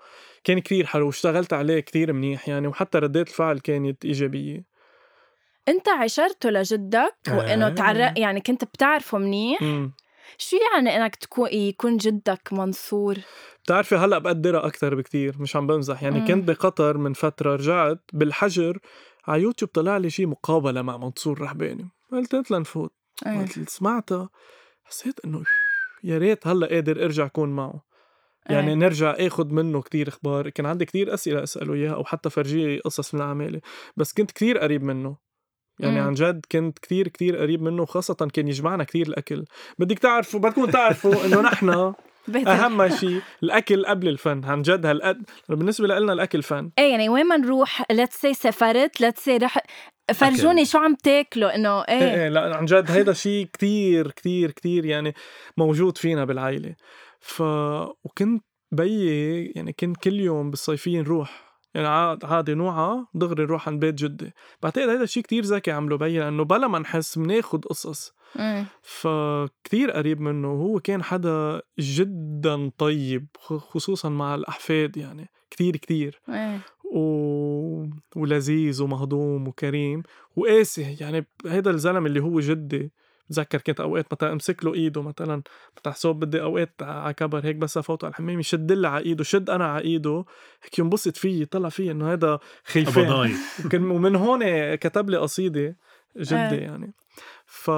[SPEAKER 3] كان كثير حلو واشتغلت عليه كثير منيح يعني وحتى ردات الفعل كانت ايجابيه
[SPEAKER 1] انت عشرته لجدك وانه
[SPEAKER 3] آه.
[SPEAKER 1] تعرق يعني كنت بتعرفه منيح
[SPEAKER 3] امم
[SPEAKER 1] شو يعني انك تكون يكون جدك منصور
[SPEAKER 3] بتعرفي هلا بقدرها اكثر بكثير مش عم بمزح يعني
[SPEAKER 1] مم.
[SPEAKER 3] كنت بقطر من فتره رجعت بالحجر على يوتيوب طلع لي شيء مقابله مع منصور رحباني قلت قلت لنفوت
[SPEAKER 1] إيه.
[SPEAKER 3] وقت اللي سمعتها حسيت انه يا ريت هلا قادر ارجع كون معه يعني
[SPEAKER 1] إيه.
[SPEAKER 3] نرجع اخذ منه كتير اخبار كان عندي كتير اسئله اساله اياها او حتى فرجيه قصص من اعمالي بس كنت كتير قريب منه يعني
[SPEAKER 1] مم.
[SPEAKER 3] عن جد كنت كتير كتير قريب منه وخاصة كان يجمعنا كتير الأكل بدك تعرفوا بدكم تعرفوا إنه نحن
[SPEAKER 1] بهتر.
[SPEAKER 3] أهم شيء الأكل قبل الفن عن جد هالقد بالنسبة لنا الأكل فن
[SPEAKER 1] ايه يعني وين ما نروح ليتس سي سافرت ليتس سي رح فرجوني شو عم تاكلوا انه
[SPEAKER 3] ايه
[SPEAKER 1] ايه
[SPEAKER 3] ايه لا عن جد هيدا شيء كتير كتير كتير يعني موجود فينا بالعائلة ف وكنت بيي يعني كنت كل يوم بالصيفية نروح يعني عاد- عادي نوعا دغري نروح عند بيت جدي بعتقد هيدا الشيء كتير ذكي عمله بيي لأنه بلا ما نحس بناخد قصص إيه.
[SPEAKER 1] مم.
[SPEAKER 3] فكتير قريب منه وهو كان حدا جدا طيب خ- خصوصا مع الأحفاد يعني كتير كتير
[SPEAKER 1] ايه
[SPEAKER 3] و... ولذيذ ومهضوم وكريم وقاسي يعني هيدا الزلم اللي هو جدي بتذكر كنت اوقات مثلا امسك له ايده مثلا فتح صوب بدي اوقات على كبر هيك بس افوت على الحمام يشد لي على ايده شد انا على ايده هيك ينبسط فيي طلع فيي انه هيدا خيفان
[SPEAKER 2] ابضاي
[SPEAKER 3] وكان ومن هون كتب لي قصيده جدي
[SPEAKER 1] إيه.
[SPEAKER 3] يعني ف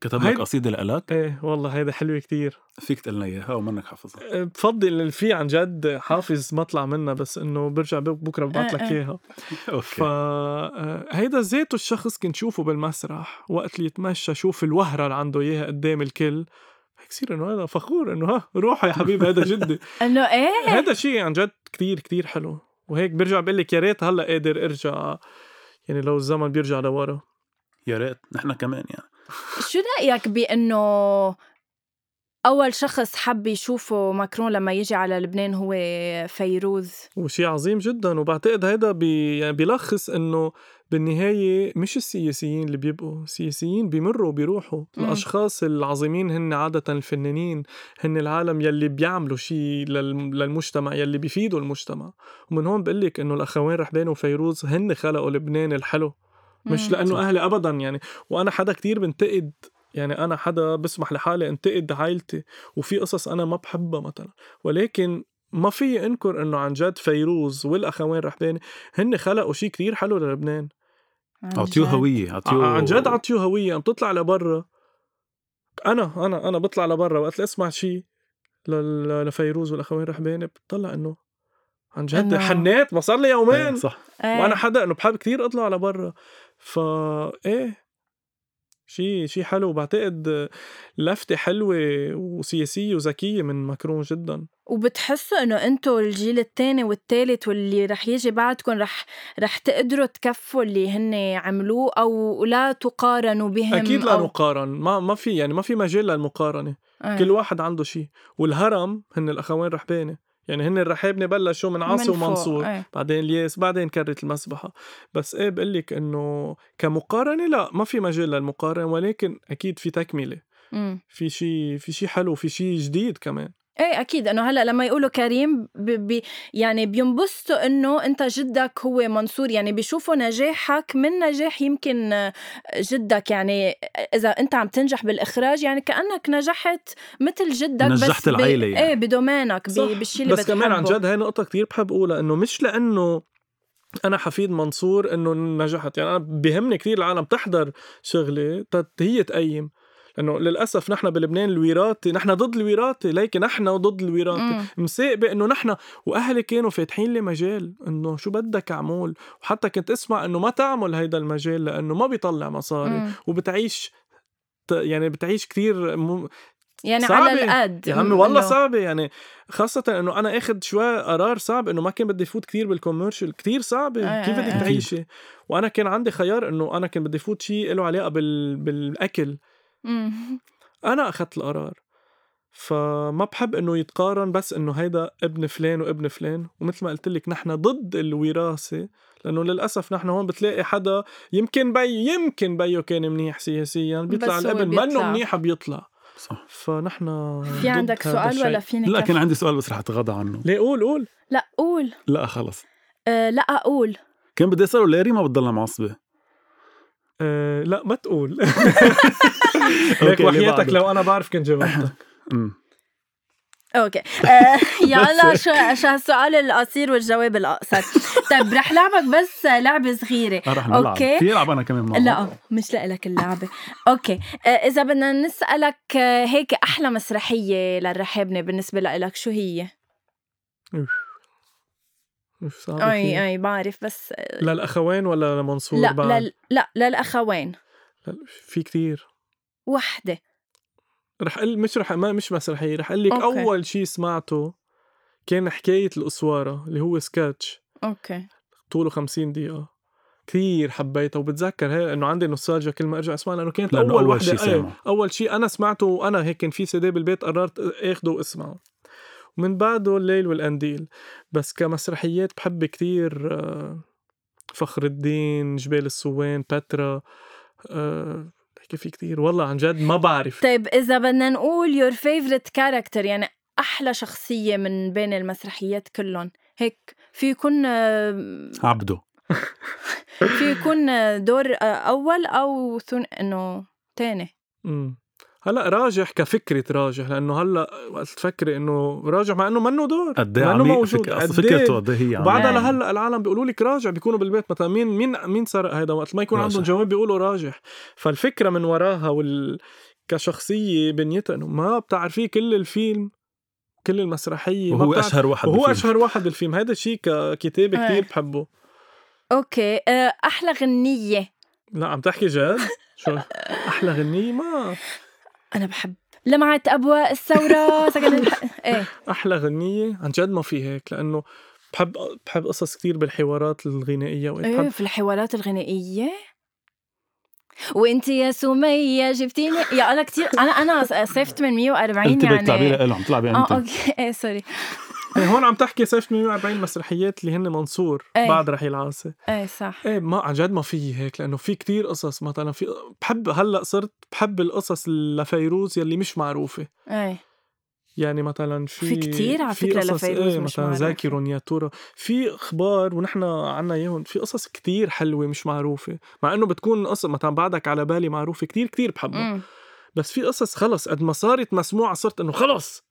[SPEAKER 2] كتب
[SPEAKER 3] هيد-
[SPEAKER 2] لك قصيده لإلك
[SPEAKER 3] ايه والله هيدا حلوة كتير آه،
[SPEAKER 2] فيك تقلنا اياها ومنك حافظها
[SPEAKER 3] بفضل اللي في عن جد حافظ مطلع منها بس انه برجع بك- بكره ببعت لك
[SPEAKER 1] إيه، إيه.
[SPEAKER 3] اياها
[SPEAKER 2] اوكي
[SPEAKER 3] فهيدا آه، ذاته الشخص كنت شوفه بالمسرح وقت اللي يتمشى شوف الوهرة اللي عنده إياها قدام الكل هيك صير انه هذا فخور انه ها روح يا حبيبي هذا جدي
[SPEAKER 1] انه ايه
[SPEAKER 3] هذا شيء عن جد كتير كتير حلو وهيك برجع بقول لك يا ريت هلا قادر ارجع يعني لو الزمن بيرجع لورا
[SPEAKER 2] يا ريت نحن كمان يعني
[SPEAKER 1] شو رايك بانه اول شخص حب يشوفه ماكرون لما يجي على لبنان هو فيروز
[SPEAKER 3] وشي عظيم جدا وبعتقد هيدا بي يعني بيلخص انه بالنهاية مش السياسيين اللي بيبقوا السياسيين بيمروا بيروحوا
[SPEAKER 1] مم.
[SPEAKER 3] الأشخاص العظيمين هن عادة الفنانين هن العالم يلي بيعملوا شيء للم- للمجتمع يلي بيفيدوا المجتمع ومن هون بقول لك إنه الأخوين رحبان وفيروز هن خلقوا لبنان الحلو مش
[SPEAKER 1] مم.
[SPEAKER 3] لأنه
[SPEAKER 2] صح.
[SPEAKER 3] أهلي أبدا يعني وأنا حدا كتير بنتقد يعني أنا حدا بسمح لحالي انتقد عائلتي وفي قصص أنا ما بحبها مثلا ولكن ما في انكر انه عن جد فيروز والاخوين رحباني هن خلقوا شيء كتير حلو للبنان
[SPEAKER 1] عن
[SPEAKER 2] اعطيوه
[SPEAKER 1] جد.
[SPEAKER 2] هويه اعطيوه
[SPEAKER 3] عن جد عطيو هويه عم تطلع لبرا انا انا انا بطلع لبرا وقت اسمع شيء لفيروز والاخوين رحباني بطلع انه عن جد
[SPEAKER 1] إنه-
[SPEAKER 3] حنيت ما صار لي
[SPEAKER 2] إيه،
[SPEAKER 3] يومين
[SPEAKER 2] صح
[SPEAKER 1] إيه.
[SPEAKER 3] وانا حدا انه بحب كثير اطلع لبرا فا ايه شيء شيء حلو بعتقد لفته حلوه وسياسيه وذكيه من ماكرون جدا
[SPEAKER 1] وبتحسوا انه انتوا الجيل الثاني والثالث واللي رح يجي بعدكم رح رح تقدروا تكفوا اللي هن عملوه او لا تقارنوا بهم
[SPEAKER 3] اكيد لا
[SPEAKER 1] أو...
[SPEAKER 3] نقارن ما ما في يعني ما في مجال للمقارنه
[SPEAKER 1] إيه.
[SPEAKER 3] كل واحد عنده شيء والهرم هن الاخوين رحباني يعني هن الرحابنه بلشوا من عاصي
[SPEAKER 1] من فوق،
[SPEAKER 3] ومنصور
[SPEAKER 1] إيه.
[SPEAKER 3] بعدين الياس بعدين كرت المسبحه بس ايه بقول لك انه كمقارنه لا ما في مجال للمقارنه ولكن اكيد في تكمله
[SPEAKER 1] مم.
[SPEAKER 3] في شيء في شيء حلو في شيء جديد كمان
[SPEAKER 1] ايه اكيد انه هلا لما يقولوا كريم بي بي يعني بينبسطوا انه انت جدك هو منصور يعني بيشوفوا نجاحك من نجاح يمكن آه، جدك يعني اذا انت عم تنجح بالاخراج يعني كانك نجحت مثل جدك بس ب-
[SPEAKER 2] نجحت العيلة يعني.
[SPEAKER 1] ايه بدومينك
[SPEAKER 3] صح.
[SPEAKER 1] ب- بالشيء اللي
[SPEAKER 3] بس كمان عن
[SPEAKER 1] بتحبه.
[SPEAKER 3] جد هاي نقطة كتير بحب أقولها إنه مش لأنه أنا حفيد منصور إنه نجحت يعني أنا بيهمني كتير العالم تحضر شغلي تت- هي تقيم لأنه للأسف نحن بلبنان الوراثة نحن ضد الوراثة ليكن نحن ضد الوراثة
[SPEAKER 1] مم.
[SPEAKER 3] مساق إنه نحن وأهلي كانوا فاتحين لي مجال إنه شو بدك أعمل وحتى كنت أسمع إنه ما تعمل هيدا المجال لأنه ما بيطلع مصاري
[SPEAKER 1] مم.
[SPEAKER 3] وبتعيش ت- يعني بتعيش كتير م...
[SPEAKER 1] يعني
[SPEAKER 3] صعبة.
[SPEAKER 1] على القد
[SPEAKER 3] إيه؟ يا عمي والله
[SPEAKER 1] إنه-
[SPEAKER 3] صعبة يعني خاصة انه انا اخذ شوي قرار صعب انه ما كان بدي فوت كثير بالكوميرشال كثير صعبة
[SPEAKER 1] آه،
[SPEAKER 3] كيف بدك
[SPEAKER 1] آه، آه.
[SPEAKER 3] تعيشي وانا كان عندي خيار انه انا كان بدي فوت شيء له علاقة بال... بالاكل
[SPEAKER 1] مم.
[SPEAKER 3] انا اخذت القرار فما بحب انه يتقارن بس انه هيدا ابن فلان وابن فلان ومثل ما قلت لك نحن ضد الوراثه لانه للاسف نحن هون بتلاقي حدا يمكن بي يمكن بيو كان منيح سياسيا بيطلع
[SPEAKER 1] بس هو
[SPEAKER 3] الابن
[SPEAKER 1] بيطلع.
[SPEAKER 3] منه منيح بيطلع
[SPEAKER 2] صح
[SPEAKER 3] فنحن
[SPEAKER 1] في عندك سؤال ولا فيني
[SPEAKER 2] لا
[SPEAKER 1] كف؟
[SPEAKER 2] كان عندي سؤال بس رح اتغاضى عنه
[SPEAKER 3] ليه قول قول
[SPEAKER 1] لا قول
[SPEAKER 2] لا خلص
[SPEAKER 1] أه لا اقول
[SPEAKER 2] كان بدي اساله ليه ريما بتضلها معصبه
[SPEAKER 3] أه لا ما تقول ليك
[SPEAKER 2] أوكي، ليه
[SPEAKER 3] وحياتك
[SPEAKER 2] بعده؟
[SPEAKER 3] لو انا بعرف كنت جاوبتك
[SPEAKER 2] أمم.
[SPEAKER 1] اوكي آه يلا شو شو هالسؤال القصير والجواب القصير طيب رح لعبك بس لعبه صغيره
[SPEAKER 2] آه، رح نلعب
[SPEAKER 1] أوكي.
[SPEAKER 2] اوكي في العب انا كمان معه
[SPEAKER 1] لا مش لك اللعبه اوكي آه اذا بدنا نسالك آه، هيك احلى مسرحيه للرحابنه بالنسبه لك شو هي
[SPEAKER 3] مش صعب
[SPEAKER 1] اي
[SPEAKER 3] كتير.
[SPEAKER 1] اي بعرف بس آه،
[SPEAKER 3] للاخوين ولا لمنصور
[SPEAKER 1] لا
[SPEAKER 3] بعد؟
[SPEAKER 1] لا لا للاخوين
[SPEAKER 3] لل- في كتير
[SPEAKER 1] وحده
[SPEAKER 3] رح قل مش رح ما مش مسرحيه رح اقول لك
[SPEAKER 1] أوكي.
[SPEAKER 3] اول شيء سمعته كان حكايه القصواره اللي هو سكتش
[SPEAKER 1] اوكي
[SPEAKER 3] طوله 50 دقيقه كثير حبيتها وبتذكر هي انه عندي نوستالجيا كل ما ارجع اسمعها لانه كانت
[SPEAKER 2] لأنه
[SPEAKER 3] اول,
[SPEAKER 2] أول
[SPEAKER 3] وحده
[SPEAKER 2] شي
[SPEAKER 3] أي-
[SPEAKER 2] سامعه.
[SPEAKER 3] اول شيء انا سمعته وانا هيك كان في سيدي بالبيت قررت اخده واسمعه ومن بعده الليل والقنديل بس كمسرحيات بحب كتير آه، فخر الدين جبال السوان بترا آه، بحكي في كتير والله عن جد ما بعرف
[SPEAKER 1] طيب اذا بدنا نقول يور فيفرت كاركتر يعني احلى شخصيه من بين المسرحيات كلهم هيك في يكون آه،
[SPEAKER 2] عبده
[SPEAKER 1] في يكون دور اول او ثن انه تاني
[SPEAKER 3] مم. هلا راجح كفكرة راجح لأنه هلا وقت تفكري إنه راجح مع إنه منه دور
[SPEAKER 2] قد ايه
[SPEAKER 3] مع إنه
[SPEAKER 2] عميق
[SPEAKER 3] موجود إيه؟
[SPEAKER 2] فك... أصل
[SPEAKER 3] قديه.
[SPEAKER 2] فكرته قد ايه هي عميقة.
[SPEAKER 3] وبعدها
[SPEAKER 1] يعني.
[SPEAKER 3] لهلا العالم بيقولوا لك راجع بيكونوا بالبيت مثلا مين مين مين سرق هيدا وقت ما يكون
[SPEAKER 2] راجح.
[SPEAKER 3] عندهم جواب بيقولوا راجح فالفكره من وراها وال كشخصيه بنيتها انه ما بتعرفيه كل الفيلم كل المسرحيه ما
[SPEAKER 2] وهو
[SPEAKER 3] بتعرف-
[SPEAKER 2] اشهر واحد
[SPEAKER 3] وهو
[SPEAKER 2] بالفيلم.
[SPEAKER 3] اشهر واحد بالفيلم هذا الشيء ككتابه
[SPEAKER 1] إيه.
[SPEAKER 3] كثير بحبه
[SPEAKER 1] اوكي آه، احلى غنيه
[SPEAKER 3] لا عم تحكي جد شو احلى غنيه ما
[SPEAKER 1] انا بحب لمعت ابواق الثوره سكن الح... ايه
[SPEAKER 3] احلى غنيه عن جد ما في هيك لانه بحب بحب قصص كثير بالحوارات الغنائيه وهيك.
[SPEAKER 1] ايه
[SPEAKER 3] بحب
[SPEAKER 1] في الحوارات الغنائيه وانت يا سميه جبتيني يا الله كثير انا انا صيفت من 140
[SPEAKER 2] انت بدك تلعبي
[SPEAKER 1] يعني
[SPEAKER 2] لهم تلعبي
[SPEAKER 1] اه
[SPEAKER 2] انت
[SPEAKER 1] اوكي ايه سوري
[SPEAKER 3] إيه، هون عم تحكي سيف 140 مسرحيات اللي هن منصور
[SPEAKER 1] إيه.
[SPEAKER 3] بعد رحيل عاصي
[SPEAKER 1] ايه صح
[SPEAKER 3] ايه ما عن جد ما في هيك لانه في كتير قصص مثلا في بحب هلا صرت بحب القصص لفيروز يلي مش معروفه
[SPEAKER 1] ايه
[SPEAKER 3] يعني مثلا في
[SPEAKER 1] في كتير على فكرة
[SPEAKER 3] قصص
[SPEAKER 1] لفيروز
[SPEAKER 3] إيه
[SPEAKER 1] مش
[SPEAKER 3] مثلا
[SPEAKER 1] معروفة.
[SPEAKER 3] ذاكر يا ترى في اخبار ونحن عنا اياهم في قصص كتير حلوه مش معروفه مع انه بتكون قصص مثلا بعدك على بالي معروفه كتير كتير بحبها
[SPEAKER 1] أمم،
[SPEAKER 3] بس في قصص خلص قد ما صارت مسموعه صرت انه خلص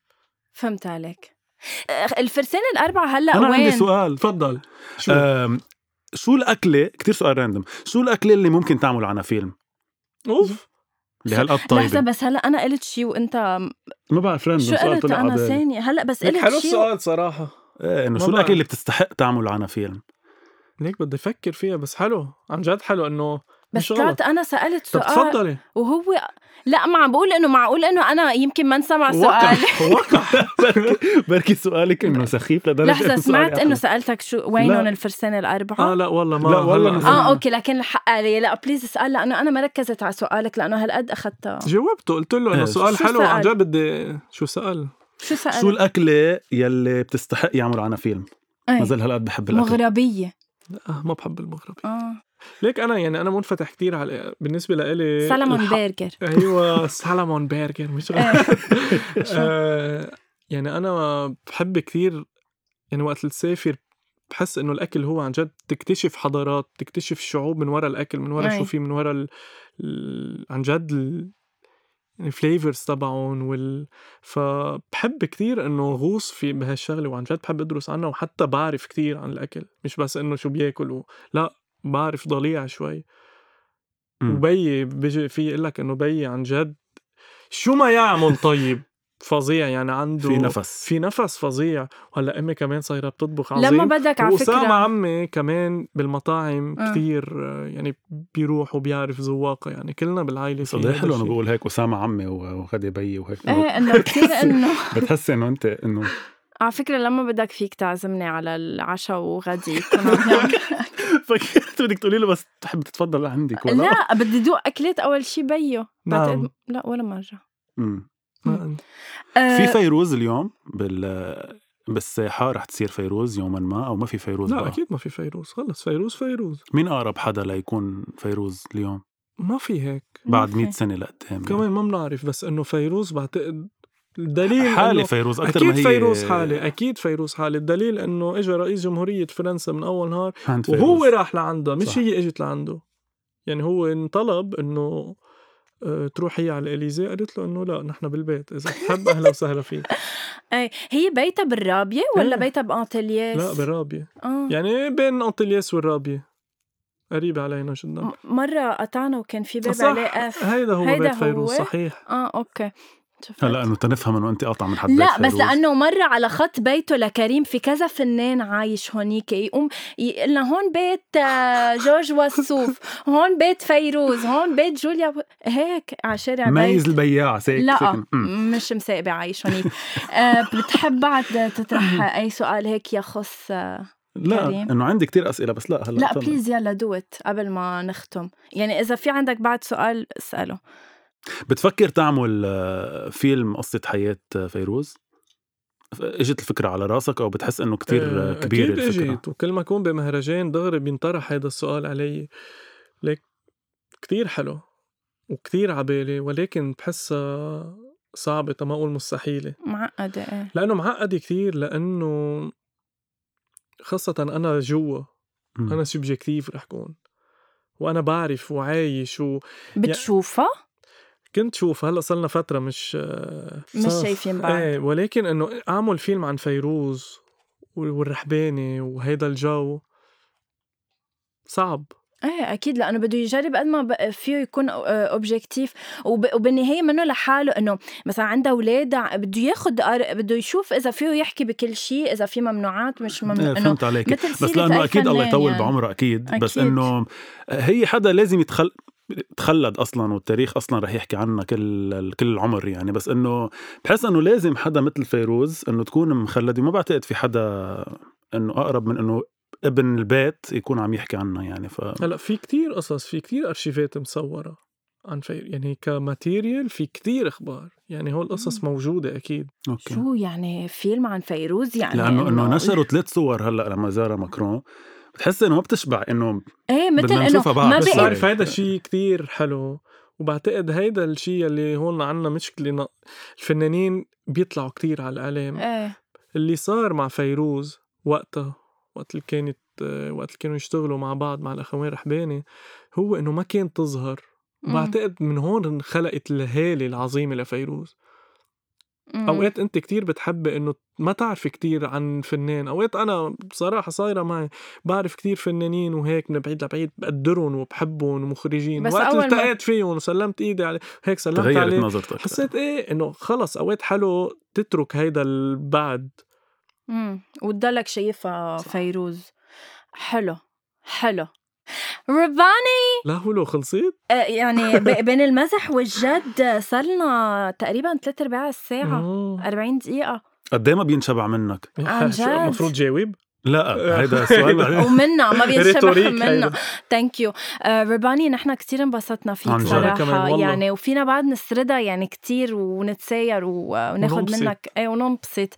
[SPEAKER 1] فهمت عليك أخ، الفرسان الاربعه هلا
[SPEAKER 2] انا
[SPEAKER 1] وين
[SPEAKER 2] عندي سؤال
[SPEAKER 3] تفضل شو
[SPEAKER 2] أم، شو الاكله كتير سؤال راندم شو الاكله اللي ممكن تعمل عنها فيلم
[SPEAKER 3] اوف
[SPEAKER 2] لهالقد
[SPEAKER 1] لحظه
[SPEAKER 2] طيبه
[SPEAKER 1] بس هلا انا قلت شيء وانت
[SPEAKER 2] ما بعرف راندم
[SPEAKER 1] شو
[SPEAKER 2] طيب. سؤال
[SPEAKER 1] قلت
[SPEAKER 2] طلع
[SPEAKER 1] انا
[SPEAKER 2] عبالي
[SPEAKER 1] ثانيه هلا بس
[SPEAKER 3] ليك حلو
[SPEAKER 1] قلت شيء
[SPEAKER 3] السؤال صراحه
[SPEAKER 2] ايه انه
[SPEAKER 3] ما
[SPEAKER 2] شو
[SPEAKER 3] بعرف.
[SPEAKER 2] الاكله اللي بتستحق تعمل عنها فيلم
[SPEAKER 3] ليك بدي افكر فيها بس حلو عن جد حلو انه
[SPEAKER 1] بس
[SPEAKER 3] مش غلط
[SPEAKER 1] طلعت انا سالت
[SPEAKER 3] طب
[SPEAKER 1] سؤال
[SPEAKER 3] تفضلي
[SPEAKER 1] وهو لا ما عم بقول انه معقول انه انا يمكن ما سمع
[SPEAKER 3] وقع
[SPEAKER 1] سؤال
[SPEAKER 3] وقع
[SPEAKER 2] بركي سؤالك انه سخيف لدرجه
[SPEAKER 1] لحظه
[SPEAKER 2] إنه
[SPEAKER 1] سمعت انه
[SPEAKER 2] سؤالي أحلى.
[SPEAKER 1] سالتك شو وينهم
[SPEAKER 2] لا.
[SPEAKER 1] الفرسان الاربعه
[SPEAKER 3] اه لا والله ما
[SPEAKER 2] لا والله
[SPEAKER 3] هلأ.
[SPEAKER 2] ما
[SPEAKER 1] اه اوكي لكن الحق علي لا بليز اسال لانه انا ما ركزت على سؤالك لانه هالقد اخذتها
[SPEAKER 3] جاوبته قلت له
[SPEAKER 2] إيه.
[SPEAKER 3] انه سؤال
[SPEAKER 1] شو
[SPEAKER 3] حلو عن
[SPEAKER 1] سأل؟
[SPEAKER 3] جد بدي شو سأل؟
[SPEAKER 1] شو سالت؟
[SPEAKER 2] شو الاكله يلي بتستحق يعمل عنها فيلم
[SPEAKER 1] إيه.
[SPEAKER 2] ما زال هالقد بحب الاكل
[SPEAKER 1] مغربيه
[SPEAKER 3] لا آه، ما بحب المغربي
[SPEAKER 1] اه
[SPEAKER 3] ليك انا يعني انا منفتح كتير على بالنسبه لإلي
[SPEAKER 1] سلمون إيه،
[SPEAKER 3] الح-
[SPEAKER 1] برجر
[SPEAKER 3] ايوه سالمون برجر مش غلط آه، يعني انا بحب كتير يعني وقت تسافر بحس انه الاكل هو عن جد تكتشف حضارات تكتشف شعوب من ورا الاكل من ورا
[SPEAKER 1] أي.
[SPEAKER 3] شو في من ورا ال... ال... عن جد ال... الفليفرز تبعهم وال فبحب كتير انه غوص في بهالشغله وعن جد بحب ادرس عنها وحتى بعرف كتير عن الاكل مش بس انه شو بياكلوا لا بعرف ضليع شوي
[SPEAKER 2] مم.
[SPEAKER 3] وبي بيجي في يقول لك انه بي عن جد شو ما يعمل طيب فظيع يعني عنده
[SPEAKER 2] في نفس
[SPEAKER 3] في نفس فظيع وهلا امي كمان صايره بتطبخ عظيم
[SPEAKER 1] لما بدك على
[SPEAKER 3] وأسامة
[SPEAKER 1] فكره
[SPEAKER 3] عمي كمان بالمطاعم
[SPEAKER 1] آه.
[SPEAKER 3] كثير يعني بيروح وبيعرف ذواقه يعني كلنا بالعائله في
[SPEAKER 2] صدق
[SPEAKER 3] هيدا
[SPEAKER 2] إيه حلو انا
[SPEAKER 3] الشي.
[SPEAKER 2] بقول هيك اسامه عمي و- وغدي بيي وهيك
[SPEAKER 1] ايه انه كثير انه
[SPEAKER 2] بتحس انه انت انه
[SPEAKER 1] على فكره لما بدك فيك تعزمني على العشاء وغدي يعني. كنا عم نعمل-
[SPEAKER 2] فكرت بدك تقولي له بس تحب تتفضل عندك ولا
[SPEAKER 1] لا بدي دوق اكلات اول شي بيو بعتقد
[SPEAKER 3] نعم.
[SPEAKER 1] لا ولا مره
[SPEAKER 2] مم.
[SPEAKER 3] ما-
[SPEAKER 1] آه،
[SPEAKER 2] في فيروز اليوم بال بالساحه رح تصير فيروز يوما ما او ما في فيروز
[SPEAKER 3] لا
[SPEAKER 2] بقى.
[SPEAKER 3] اكيد ما في فيروز خلص فيروز فيروز
[SPEAKER 2] مين اقرب حدا ليكون فيروز اليوم
[SPEAKER 3] ما في هيك
[SPEAKER 1] ما
[SPEAKER 2] بعد
[SPEAKER 1] في.
[SPEAKER 2] 100 سنه لقدام يعني.
[SPEAKER 3] كمان ما بنعرف بس انه فيروز بعتقد الدليل
[SPEAKER 2] حالي
[SPEAKER 3] إنه-
[SPEAKER 2] فيروز اكثر
[SPEAKER 3] اكيد
[SPEAKER 2] ما هي
[SPEAKER 3] فيروز حالي اكيد فيروز حالي الدليل انه اجى رئيس جمهوريه فرنسا من اول نهار
[SPEAKER 2] عند فيروز.
[SPEAKER 3] وهو راح لعندها مش
[SPEAKER 2] صح.
[SPEAKER 3] هي اجت لعنده يعني هو انطلب انه آه، تروح هي على الاليزي قالت له انه لا نحن بالبيت اذا بتحب اهلا وسهلا فيك
[SPEAKER 1] ايه هي بيتها بالرابيه ولا
[SPEAKER 3] إيه.
[SPEAKER 1] بيتها بانتلياس؟
[SPEAKER 3] لا بالرابيه
[SPEAKER 1] اه
[SPEAKER 3] يعني بين انطلياس والرابيه قريبه علينا جدا
[SPEAKER 1] م- مرة قطعنا وكان في باب
[SPEAKER 3] صح
[SPEAKER 1] عليه اف
[SPEAKER 3] هيدا هو
[SPEAKER 1] هيدا
[SPEAKER 3] بيت فيروز
[SPEAKER 1] هو.
[SPEAKER 3] صحيح
[SPEAKER 1] اه اوكي شفت.
[SPEAKER 2] هلا انه تنفهم انه انت قاطع من حد بيت
[SPEAKER 1] لا بس
[SPEAKER 2] فيروز.
[SPEAKER 1] لانه مره على خط بيته لكريم في كذا فنان عايش هونيك يقوم يقول لنا هون بيت آه، جورج وسوف هون بيت فيروز هون بيت جوليا و- هيك على شارع بيت
[SPEAKER 2] ميز البياع سيك
[SPEAKER 1] لا
[SPEAKER 2] سيك- مم.
[SPEAKER 1] مش مساقبة عايش هونيك آه، بتحب بعد تطرح اي سؤال هيك يخص آه،
[SPEAKER 2] لا
[SPEAKER 1] كريم.
[SPEAKER 2] انه عندي كتير اسئله بس لا هلا
[SPEAKER 1] لا
[SPEAKER 2] تفضل.
[SPEAKER 1] بليز يلا دوت قبل ما نختم يعني اذا في عندك بعد سؤال اساله
[SPEAKER 2] بتفكر تعمل آه، فيلم قصه حياه آه، فيروز ف- اجت الفكره على راسك او بتحس انه كتير آه،
[SPEAKER 3] آه،
[SPEAKER 2] كبيره
[SPEAKER 3] أكيد
[SPEAKER 2] الفكره
[SPEAKER 3] اجت وكل ما اكون بمهرجان دغري بينطرح هيدا السؤال علي ليك كتير حلو وكتير عبالي ولكن بحسها صعبة تا ما أقول مستحيلة
[SPEAKER 1] معقده ايه
[SPEAKER 3] لأنه معقدة كتير لأنه خاصة أنا جوا
[SPEAKER 2] مم.
[SPEAKER 3] أنا سبجكتيف رح كون وأنا بعرف وعايش
[SPEAKER 1] بتشوفها
[SPEAKER 3] وكنت شوف هلأ صلنا فترة مش آه،
[SPEAKER 1] مش
[SPEAKER 3] صار-
[SPEAKER 1] شايفين بعض
[SPEAKER 3] ايه ولكن انه اعمل فيلم عن فيروز وال- والرحباني وهيدا الجو صعب
[SPEAKER 1] ايه اكيد لانه بده يجرب قد ما ب- فيه يكون آه، اوبجيكتيف وبالنهايه منه لحاله انه مثلا عنده اولاد بده ياخذ قر- بده يشوف اذا فيه يحكي بكل شيء اذا في ممنوعات مش
[SPEAKER 2] إيه،
[SPEAKER 1] ممنوع انه
[SPEAKER 2] فهمت عليك
[SPEAKER 1] مثل
[SPEAKER 2] بس
[SPEAKER 1] سيرة
[SPEAKER 2] لانه
[SPEAKER 1] أي
[SPEAKER 2] اكيد الله
[SPEAKER 1] فنان
[SPEAKER 2] يطول
[SPEAKER 1] يعني.
[SPEAKER 2] بعمره اكيد, بس
[SPEAKER 1] أكيد.
[SPEAKER 2] انه هي حدا لازم يتخل تخلد اصلا والتاريخ اصلا رح يحكي عنها كل كل العمر يعني بس انه بحس انه لازم حدا مثل فيروز انه تكون مخلده ما بعتقد في حدا انه اقرب من انه ابن البيت يكون عم يحكي عنها يعني ف
[SPEAKER 3] هلا في كتير قصص في كتير ارشيفات مصوره عن فير يعني كماتيريال في كتير اخبار يعني هول القصص موجوده اكيد
[SPEAKER 2] اوكي
[SPEAKER 1] شو يعني فيلم عن فيروز يعني
[SPEAKER 2] لانه انه نشروا ثلاث صور هلا لما زار ماكرون بتحس انه ما بتشبع انه
[SPEAKER 1] ايه مثل
[SPEAKER 2] بدنا
[SPEAKER 1] انه
[SPEAKER 2] نشوفها بعد.
[SPEAKER 1] ما
[SPEAKER 2] بس
[SPEAKER 3] بس
[SPEAKER 1] بقي
[SPEAKER 2] صار
[SPEAKER 3] بعرف هيدا الشيء كتير حلو وبعتقد هيدا الشيء اللي هون عنا مشكله إنه الفنانين بيطلعوا كتير على الاعلام
[SPEAKER 1] ايه
[SPEAKER 3] اللي صار مع فيروز وقتها وقت اللي كانت آه، وقت اللي كانوا يشتغلوا مع بعض مع الاخوين رحباني هو انه ما كانت تظهر
[SPEAKER 1] مم.
[SPEAKER 3] بعتقد من هون انخلقت الهاله العظيمه لفيروز
[SPEAKER 1] مم.
[SPEAKER 3] اوقات انت كتير بتحب انه ما تعرفي كتير عن فنان اوقات انا بصراحه صايره معي بعرف كتير فنانين وهيك من بعيد لبعيد بقدرهم وبحبهم ومخرجين
[SPEAKER 1] بس
[SPEAKER 3] بس وقت
[SPEAKER 1] أول ما-
[SPEAKER 3] التقيت فيهم وسلمت ايدي عليه هيك سلمت
[SPEAKER 2] تغيرت
[SPEAKER 3] عليه
[SPEAKER 2] نظرتك
[SPEAKER 3] حسيت ايه انه خلص اوقات حلو تترك هيدا البعد
[SPEAKER 1] امم وتضلك شايفها
[SPEAKER 3] صح.
[SPEAKER 1] فيروز حلو حلو رباني
[SPEAKER 3] لا هو خلصت
[SPEAKER 1] آه، يعني ب- بين المزح والجد صرنا تقريبا ثلاث ارباع الساعه
[SPEAKER 3] آه.
[SPEAKER 1] 40 دقيقه
[SPEAKER 2] قد إيه ما بينشبع منك
[SPEAKER 1] عن
[SPEAKER 3] شو
[SPEAKER 1] جد.
[SPEAKER 3] المفروض جاوب
[SPEAKER 2] لا هيدا السؤال بعدين.
[SPEAKER 1] ومنا ما بينشبه
[SPEAKER 3] ريتوريك
[SPEAKER 1] منا
[SPEAKER 3] هيدا.
[SPEAKER 1] ثانك يو رباني نحن كثير انبسطنا فيك
[SPEAKER 2] عن جد.
[SPEAKER 3] وأنا كمان
[SPEAKER 1] صراحه
[SPEAKER 3] والله.
[SPEAKER 1] يعني وفينا بعد نسردها يعني كثير ونتساير و- وناخذ
[SPEAKER 3] وننبسط.
[SPEAKER 1] منك اي وننبسط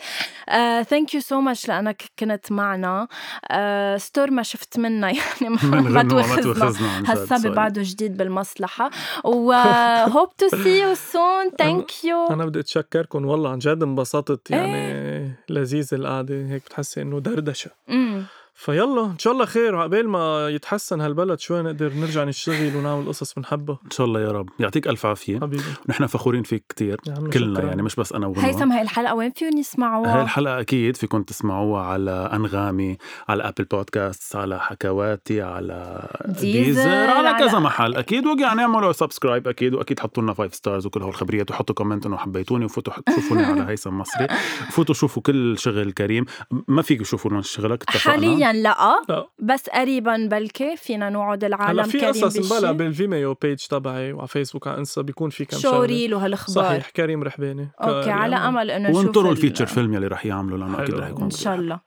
[SPEAKER 1] آه، ثانك يو سو ماتش لانك كنت معنا آه، ستور ما شفت منا يعني ما-
[SPEAKER 2] من
[SPEAKER 1] ما
[SPEAKER 2] غنوة ما
[SPEAKER 1] توخزنا
[SPEAKER 2] توخزنا عن جد،
[SPEAKER 1] هالصبي
[SPEAKER 2] سوري.
[SPEAKER 1] بعده جديد بالمصلحة و uh, hope to see you soon thank you
[SPEAKER 3] انا بدي اتشكركم والله عن جد انبسطت
[SPEAKER 1] إيه.
[SPEAKER 3] يعني لذيذ القعده هيك بتحسي انه دردشه
[SPEAKER 1] أمم.
[SPEAKER 3] فيلا ان شاء الله خير وعقبال ما يتحسن هالبلد شوي نقدر نرجع نشتغل ونعمل قصص بنحبها
[SPEAKER 2] ان شاء الله يا رب يعطيك الف
[SPEAKER 1] إيه.
[SPEAKER 2] عافيه
[SPEAKER 3] حبيبي
[SPEAKER 2] نحن فخورين فيك كتير
[SPEAKER 3] آه. يا عمي
[SPEAKER 2] كلنا
[SPEAKER 3] شكراً.
[SPEAKER 2] يعني مش بس انا وهنا
[SPEAKER 1] هيثم هاي الحلقة وين فيهم
[SPEAKER 2] هاي
[SPEAKER 1] يسمعوها؟
[SPEAKER 2] الحلقة أكيد فيكم تسمعوها على أنغامي على أبل بودكاست على حكواتي على
[SPEAKER 1] ديزر،
[SPEAKER 2] ديزر على
[SPEAKER 1] على-
[SPEAKER 2] كذا محل أكيد ويعني اعملوا سبسكرايب أكيد وأكيد حطوا لنا فايف ستارز وكل هول الخبريات وحطوا كومنت إنه حبيتوني وفوتوا حط- شوفوني على هيثم مصري فوتوا شوفوا كل شغل كريم ما فيك تشوفوا لنا شغلك اتفقنا
[SPEAKER 1] حاليا لا
[SPEAKER 3] لا
[SPEAKER 1] بس قريبا بلكي فينا نقعد العالم
[SPEAKER 3] هلا في
[SPEAKER 1] كريم
[SPEAKER 3] قصص مبلا
[SPEAKER 1] بشي
[SPEAKER 3] بالفيميو بيج تبعي وعلى فيسبوك على انستا بيكون في كم
[SPEAKER 1] شو
[SPEAKER 3] شغله
[SPEAKER 1] ريل وهالاخبار
[SPEAKER 3] صحيح كريم رحباني
[SPEAKER 1] اوكي على امل انه نشوف
[SPEAKER 2] وانطروا
[SPEAKER 1] ال-
[SPEAKER 2] الفيتشر فيلم يلي رح يعملوا لأنه أكيد
[SPEAKER 3] حلو.
[SPEAKER 2] رح يكون
[SPEAKER 1] ان شاء الله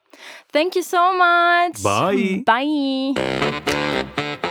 [SPEAKER 1] ثانك يو سو ماتش
[SPEAKER 2] Bye.
[SPEAKER 1] باي